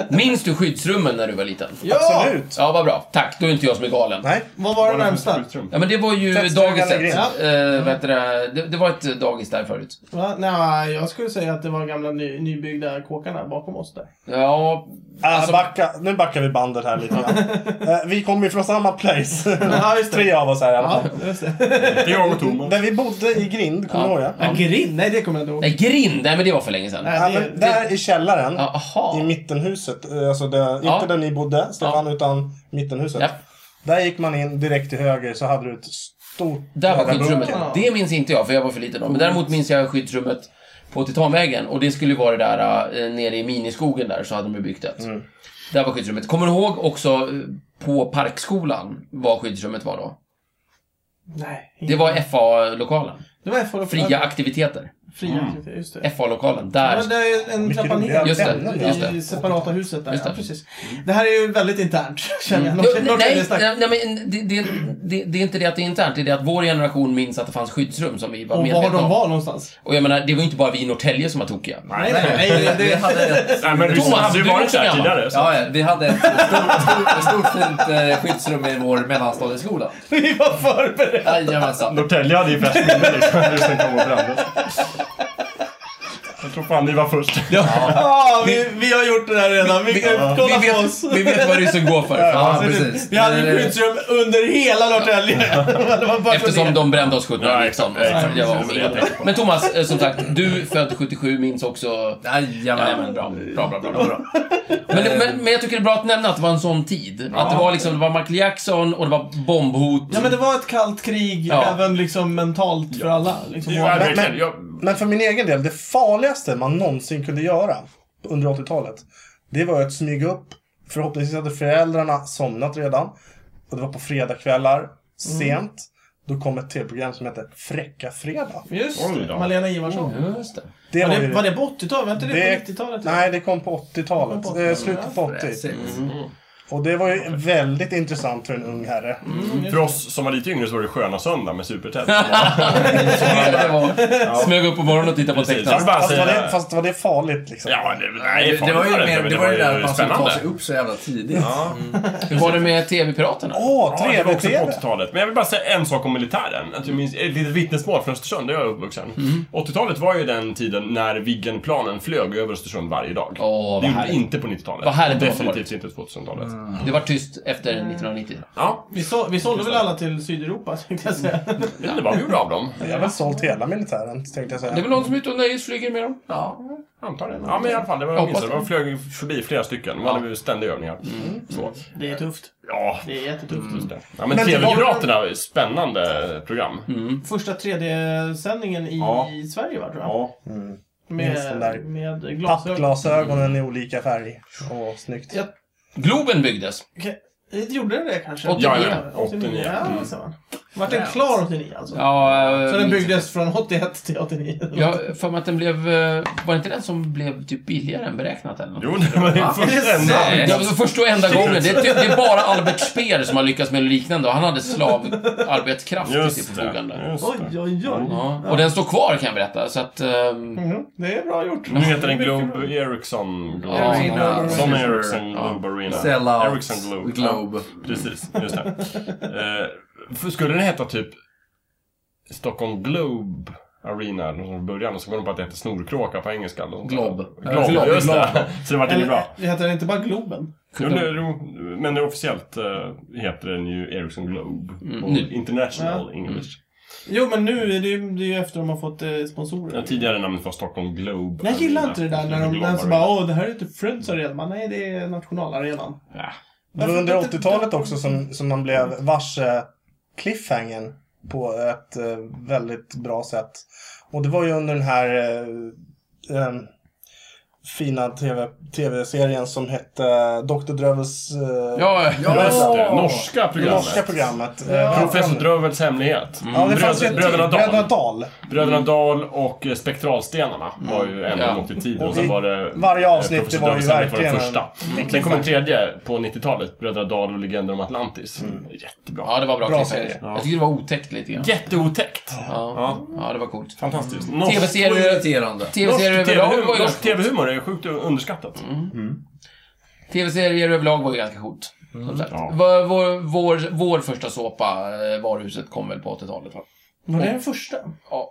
Minns du skyddsrummen när du var liten?
absolut.
Ja, vad bra. Tack. Då är inte jag som är galen.
Nej.
Vad var det
Bara för
närmsta?
skjutrum.
Ja, men det var ju
Teststugan
dagiset.
i Grimma.
Eh, vad heter det? Det, det var ett dagis där förut.
Va? Nej, jag skulle säga att det var gamla ny, nybyggda kåkarna bakom oss där.
Ja,
Ah,
Alltså-
backa. Nu backar vi bandet här lite grann. Eh, vi kommer ju från samma place.
Ja, just det.
Tre av oss här i alla
Ja,
fall.
just det.
Det är jag och Thomas.
Där vi bodde i Grind, kommer du
Ja.
ihåg det?
Ja, grind? Nej, det kommer jag inte ihåg.
nej, grind. Nej, men det var för länge sedan.
Ja,
Nej, det,
Äh, men där i källaren,
Ja, Aha.
i mittenhuset, eh, alltså det, inte
Ja.
där ni bodde, Stefan, utan mittenhuset.
Ja,
Där gick man in direkt till höger så hade du ett stort
där var
jävla
skyddsrummet.
bunker.
Det minns inte jag, för jag var för liten då. Men däremot minns jag skyddsrummet på Titanvägen. Och det skulle ju vara det där eh, nere i miniskogen där, så hade de ju byggt ett.
Mm.
Där var skyddsrummet. Kommer du ihåg också eh, på Parkskolan vad skyddsrummet var då?
nej,
Det var FA-lokalen.
det var FH.
Fria Mm. aktiviteter.
Fria aktiviteter, just det.
FA-lokalen.
Ja,
Där.
men det är ju en
Mycket
trappa
roligare
ner.
Just det,
ämnen,
just
ja.
det.
I separata huset där,
Just det. Mm.
ja precis. Det här är ju väldigt internt, känner jag. Något-
Jo,
något
nej,
väldigt starkt.
nej, nej, men det, det, det, det är inte det att det är internt. Det är det att vår generation minns att det fanns skyddsrum som vi var
Och var
medvetna
de
om.
var någonstans.
Och jag menar, det var ju inte bara vi i Norrtälje som var tokiga.
Nej, nej, nej.
Vi
Det,
hade ett,
Nej, men
Thomas,
du
du
var
är
inte
också
där
gammal.
tidigare. Så.
ja, ja, vi hade ett stort, stort, ett stort fint eh, skyddsrum i vår mellanstadieskola.
vi var förberedda.
Jajamensan.
Norrtälje hade ju bäst minne liksom. Du som kom och brände. Jag tror fan ni var först.
Ja, vi, vi har gjort det här redan. Vi, kan kolla
vi,
på
vet,
oss.
vi vet vad ryssen går för.
Ja,
Ja,
precis.
Vi hade ju skyddsrum under hela Norrtälje. Det var bara så
Eftersom
det.
de brände oss 1719.
Ja, exakt, exakt.
Jag var
Det var det jag tänkte
Men Thomas, eh, som sagt, du född 77 minns också... Ja, men
Jajamän.
bra. Bra, bra, bra. bra. Men, men, men jag tycker det är bra att nämna att det var en sån tid. Att det var liksom, det var Michael Jackson och det var bombhot.
Ja, men det var ett kallt krig,
Ja.
även liksom mentalt för alla. Liksom.
Ja,
men-
verkligen. Jag,
Men för min egen del, det farligaste man någonsin kunde göra under 80-talet, det var att smyga upp. Förhoppningsvis hade föräldrarna somnat redan. Och det var på fredagskvällar, sent. Då kom ett tv-program som hette Fräcka Fredag.
Just
Oj då.
Malena Ivarsson.
Just det.
Det
Var
ju
det, var det på 80-talet? Var inte det på 90-talet?
Nej, det kom på 80-talet.
Det kom på
eh,
80-talet.
slutet på 80.
Precis.
Och det var ju väldigt intressant för en ung herre.
för oss som var lite yngre så var det Sköna Söndag med Super-Ted.
det var, smög upp på morgonen och tittade på
Precis. Jag
tecknat.
vill bara
Fast var det,
säga...
fast var det farligt liksom?
Alltså, Ja, det, nej,
Nej,
fan,
det var ju
inte,
mer,
men
det var ju där att man skulle ta sig
spännande.
upp så jävla tidigt.
Hur var det med TV-piraterna?
Åh,
Ja, det var också på
trevligt!
80-talet. Men jag vill bara säga en sak om militären. Att jag minns ett litet vittnesmål från Östersund, där jag är uppvuxen. 80-talet var ju den tiden när Viggenplanen flög över Östersund varje dag.
Åh, vad
det gjorde
härligt.
inte på 90-talet.
Vad härligt det var
Definitivt inte på 2000-talet.
Det var tyst efter 1990.
Ja,
Vi, så, vi sålde väl alla till Sydeuropa, tänkte jag säga.
det är vad vi gjorde av dem.
Jag har väl sålt hela militären, tänkte jag
Det är
säga.
väl någon som är ute och nöjesflyger med dem?
Ja.
Antar det. Ja, men i alla fall. Det var,
Jag
jag minns det.
hoppas
De flög förbi flera stycken. De hade ju ständiga övningar. Så.
Det är tufft.
Ja,
Det är jättetufft.
just det. Ja, men
Men
TV-piraterna, spännande program.
Första 3D-sändningen i
Ja.
Sverige, va, tror jag. Mm.
Ja.
minst den där
Med, med glasögon.
Pappglasögonen i olika färg. Åh, snyggt.
Ja.
Globen byggdes.
Okej. Eh, Gjorde den det kanske?
89. Ja,
ja, ja. 89.
Ja,
Mm.
så va. Vart den klar 89 alltså?
Ja, eh,
Så den
minst-
byggdes från 81 till 89?
Jag har för mig att den blev... eh, Var det inte den som blev typ billigare än beräknat eller något?
Jo, det var ju första ändan.
Nej, det var första och enda gången. Det är, typ, det är bara Albert Speer som har lyckats med något liknande och han hade slavarbetskraft till sitt
Just
förfogande.
det. Just
Oj,
det.
oj, oj.
Ja. Och den står kvar kan jag berätta, så att... ehm,
Mhm, Det är bra gjort.
Nu heter den Globe Ericsson Globe.
Ja,
Arena.
Som
Arena.
Ericsson Globe Arena.
Sellout
Ericsson Globe.
Globe.
Ja, precis, just det. Eh, för skulle den heta typ Stockholm Globe Arena eller något sånt i början och så kom de på att det hette Snorkråka på engelska. eller något sånt där.
Globe.
Globe,
Globe,
just det. Så det vart inget
Eller,
bra.
det heter inte bara Globen?
Jo, det, jo, men det officiellt eh, heter den ju Ericsson Globe.
Mm,
på
nu.
International
Ja.
English.
Jo, men nu är det ju, det är ju efter de har fått eh, sponsorer.
Ja, typ. tidigare namnet var Stockholm Globe
Jag gillar
Arena.
inte det där när de
Globe
när som
Arena.
bara åh, det här är inte Friends Arena. Man, Nej, det är nationalarenan.
Ja.
Det var under 80-talet också som, som man blev varse cliffhangern på ett eh, väldigt bra sätt. Och det var ju under den här eh, eh, fina TV, tv-serien som hette Dr. Drövels... Eh,
Ja,
Ja, just det.
Ja.
Norska
det
programmet.
norska programmet. Eh,
Ja.
Professor Drövels hemlighet.
Ja, det fanns ju ett
Bröd- Bröderna
till. Bröderna
Dahl.
Dahl.
Bröderna Dahl och eh, Spektralstenarna var ju en
Mm. Ja.
som åkte i tiden. Och
Och
sen
i
var det...
varje avsnitt,
Eh, Professor
det var ju
Drövels hemlighet
verkligen
den första. Sen kom en tredje på 90-talet. Bröderna Dahl och Legender om Atlantis.
Mm.
Jättebra.
ja det var bra,
Bra
cliffhanger.
serie.
Jag tycker det var otäckt lite grann.
Jätteotäckt.
Ja.
Ja.
ja, det var coolt.
Fantastiskt.
TV-serier
Norsk,
Så irriterande.
TV-serier
norsk
överlag var
TV-humor
ju ganska coolt.
norsk TV-humor är sjukt underskattat.
TV-serier överlag var ju ganska coolt. Som sagt.
Ja.
Vår, vår, vår, vår första såpa, eh, Varuhuset, kom väl på 80-talet va?
Var det den första?
Ja.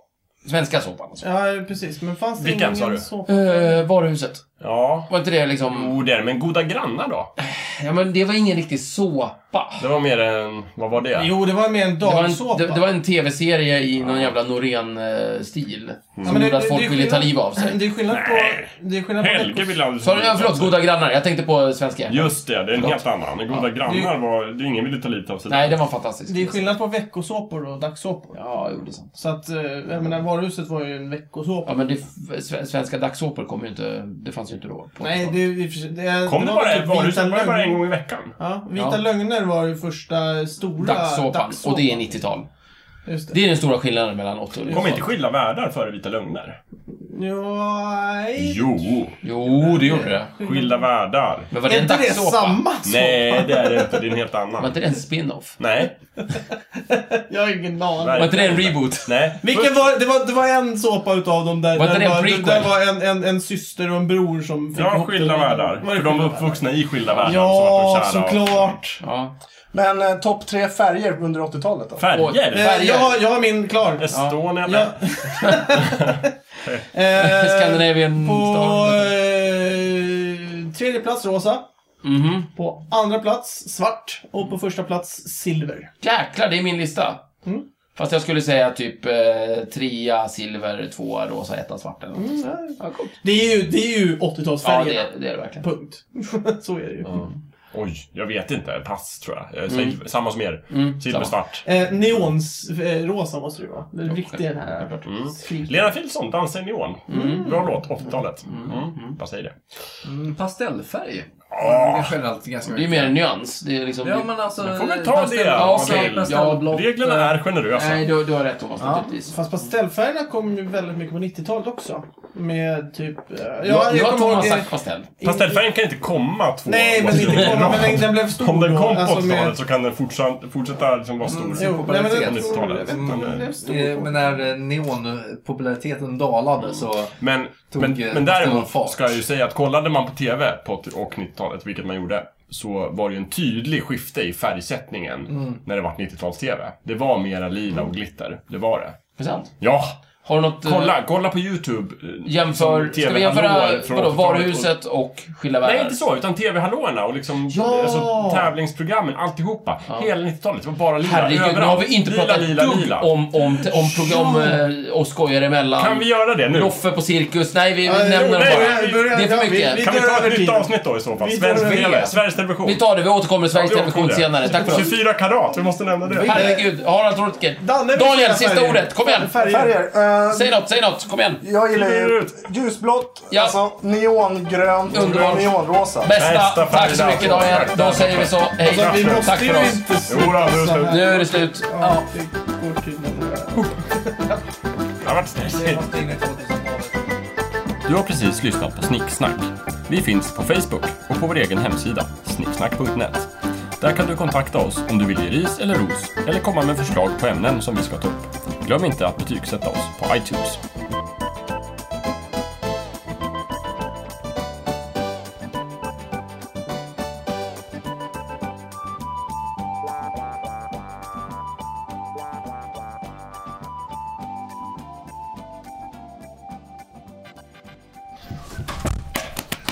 Svenska såpan alltså.
Ja, precis. Men fanns det
Vilken, sa
ingen
du?
så?
Eh, varuhuset.
Ja.
Var inte det liksom...
Jo, det är det. Men Goda grannar då?
Ja, men det var ingen riktig såpa.
Det var mer en... Vad var det?
Jo, det var mer en
Det var en,
dagsåpa.
det, det var en tv-serie i någon jävla Norén-stil.
Ja,
Som
men
gjorde att
är
folk ville ta
skillnad-
liv av sig.
Det är skillnad på...
Nej.
Det är skillnad på...
Helge
veckos-
vill aldrig...
Så, ja, förlåt, Goda grannar. Jag tänkte på svenska.
Just det, det är en
Förlåt.
helt annan. Goda grannar var... Det är ingen ville ta livet av sig.
Nej, den var fantastisk.
Det är skillnad på veckosåpor och dagsåpor.
Ja, jo, det är sant.
Så att, eh, jag menar, varuhuset var ju en veckosåpa.
Ja, men det, sve- svenska dagsåpor kom ju inte... Det fanns ju inte då. på
Nej,
80-talet.
det, i och för sig- det,
Kom det
var
bara,
typ
var det,
Vita
var det bara en
Lögn-
gång i veckan?
Ja, Vita
Ja.
lögner var ju första stora
Dagsåpan. Och det är 90-tal.
Just det.
Det är den stora skillnaden mellan 80 och 90
Kom inte Skilda världar före Vita lögner?
Ja, nej.
Jo!
Jo, det gjorde det.
Skilda världar.
Men var det
Är
en
inte det
dagsåpa?
samma såpa?
Nej, det är det inte. Det är en helt
Var
annan.
inte det en spin-off?
Nej.
Jag har ingen aning.
Nej.
Var inte det en reboot?
Nej.
Vilken var, det, var, det var en såpa utav dem där
Var inte
där
det en prequel?
där var en, en, en syster och en bror som fick
Ja,
ihop
Skilda
det.
världar.
Var det
För de var
Skilda världar?
uppvuxna i Skilda världar. så vart
Ja,
de kära och-
såklart.
Ja.
Men eh, topp tre färger under 80-talet då?
Oj.
Färger?
Eh, jag, har, jag har min klar.
Estonia?
Jag,
Ja.
eh,
Scandinavian
på
Star.
eh, tredje plats rosa.
Mhm.
På andra plats svart. Och på första plats silver.
Jäklar, det är min lista.
Mm.
Fast jag skulle säga typ eh, trea silver, tvåa rosa, etta svart eller något. Ja, coolt.
Det är ju, det är ju
Ja,
80-talsfärgerna.
det, det är det verkligen.
Punkt. Så är det ju.
Oj, jag vet inte. Pass, tror jag. Eh, säg- Samma som er.
Mm, samma.
Silversvart.
Eh, neons, eh, rosa måste det ju vara. Den riktiga den här.
Mm.
Fri-
Lena Philipsson, Dansa i neon.
Mm.
Bra låt, 80-talet. Mm. Vad säger det?
Mm, pastellfärg.
Ah.
Det är generellt ganska
Det är mer en nyans. Det är liksom...
Ja, men alltså...
Men får väl ta
pastell-
det,
Ja,
om man vill.
pastellblått.
Reglerna är generösa.
Nej, du, du har rätt Thomas,
Ja.
naturligtvis.
Fast pastellfärgerna kom ju väldigt mycket på 90-talet också. Med typ... eh, Ja,
Ja, nu har
kommer ihåg,
Thomas
eh,
sagt pastell.
Pastellfärgen kan inte komma två
Nej, men
år i
inte komma,
rad.
men den, den blev stor
Om den
då,
kom på
alltså
80-talet
med-
så kan den fortsätta, fortsätta liksom vara stor.
Mm,
Jo, nej, men
på
den, jag tror, jag
90-talet.
vet inte om den
Men,
blev stor.
Eh, Men
då.
när eh, neonpopulariteten dalade så...
Men,
Tog,
men,
eh,
men
stor
däremot
fart.
ska jag ju säga att kollade man på TV på 80 och 90-talet, vilket man gjorde, så var det ju en tydlig skifte i färgsättningen när det var 90-tals-TV. Det var mera lila och glitter. Det var det.
Är det sant?
Ja!
Har du något... eh,
Kolla, kolla på YouTube. eh,
Jämför...
som
Ska vi
TV-hallåor
jämföra
från
vadå,
80-talet.
varuhuset och Skilda
Nej,
Världar?
inte så. Utan TV-hallåorna och liksom,
Ja!
alltså, tävlingsprogrammen, alltihopa. Hela 90-talet. Det var bara lila
Herregud, nu har vi inte
lila,
pratat
lila,
dugg
lila.
om, om, om program eh, och skojare emellan.
Kan vi göra det nu?
Loffe på cirkus. Nej, vi, vi
Nej,
nämner
nej,
dem bara.
nej,
börjar-
Det är för
ja, vi-
mycket.
vi
Kan vi
drar
ta
över
ett nytt
tiden.
avsnitt då i så fall?
Vi
Svensk
drar över
TV.
det.
Sveriges Television.
Vi tar det, vi återkommer till Sveriges
Ja, vi
Television
återkommer.
senare. Tack för oss.
24 karat, vi måste nämna det.
Herregud, Harald Rutger.
Danne, vi
Daniel,
säger
sista
färger.
ordet. Kom igen.
Färger.
Färger. eh,
Säg något, säg något. Kom igen.
jag gillar ju
Ut.
ljusblått,
Ja.
alltså neongrönt,
Underbart.
neonrosa.
Bästa.
Bästa
Tack så
färger.
mycket Daniel.
Tack,
Då
tack,
säger vi
tack.
så.
Alltså, vi
Hej.
måste
Tack
ju
för oss.
inte
Jo då, nu är det slut.
Nu är det slut.
Ja, det går tydligen.
Det har varit stressigt.
måste in i
Mm.
2000-talet.
Du har precis lyssnat på Snicksnack. Vi finns på Facebook och på vår egen hemsida, snicksnack.net. Där kan du kontakta oss om du vill ge ris eller ros eller komma med förslag på ämnen som vi ska ta upp. Glöm inte att betygsätta oss på iTunes.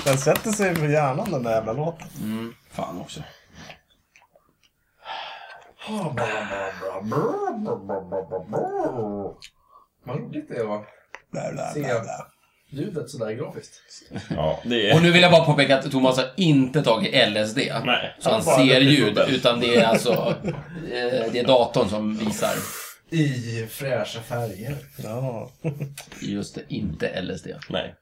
Den sätter sig på hjärnan den där jävla låten.
Fan också.
Vad roligt det var.
Bla, bla,
Se ljudet sådär grafiskt.
Ja, det är...
Och nu vill jag bara påpeka att Thomas har inte tagit LSD.
Nej.
Så han
Bara
ser
lite
ljud,
bubbel.
utan det är alltså... eh, Det är datorn som visar.
I fräscha färger.
Ja.
Just det, inte LSD.
Nej.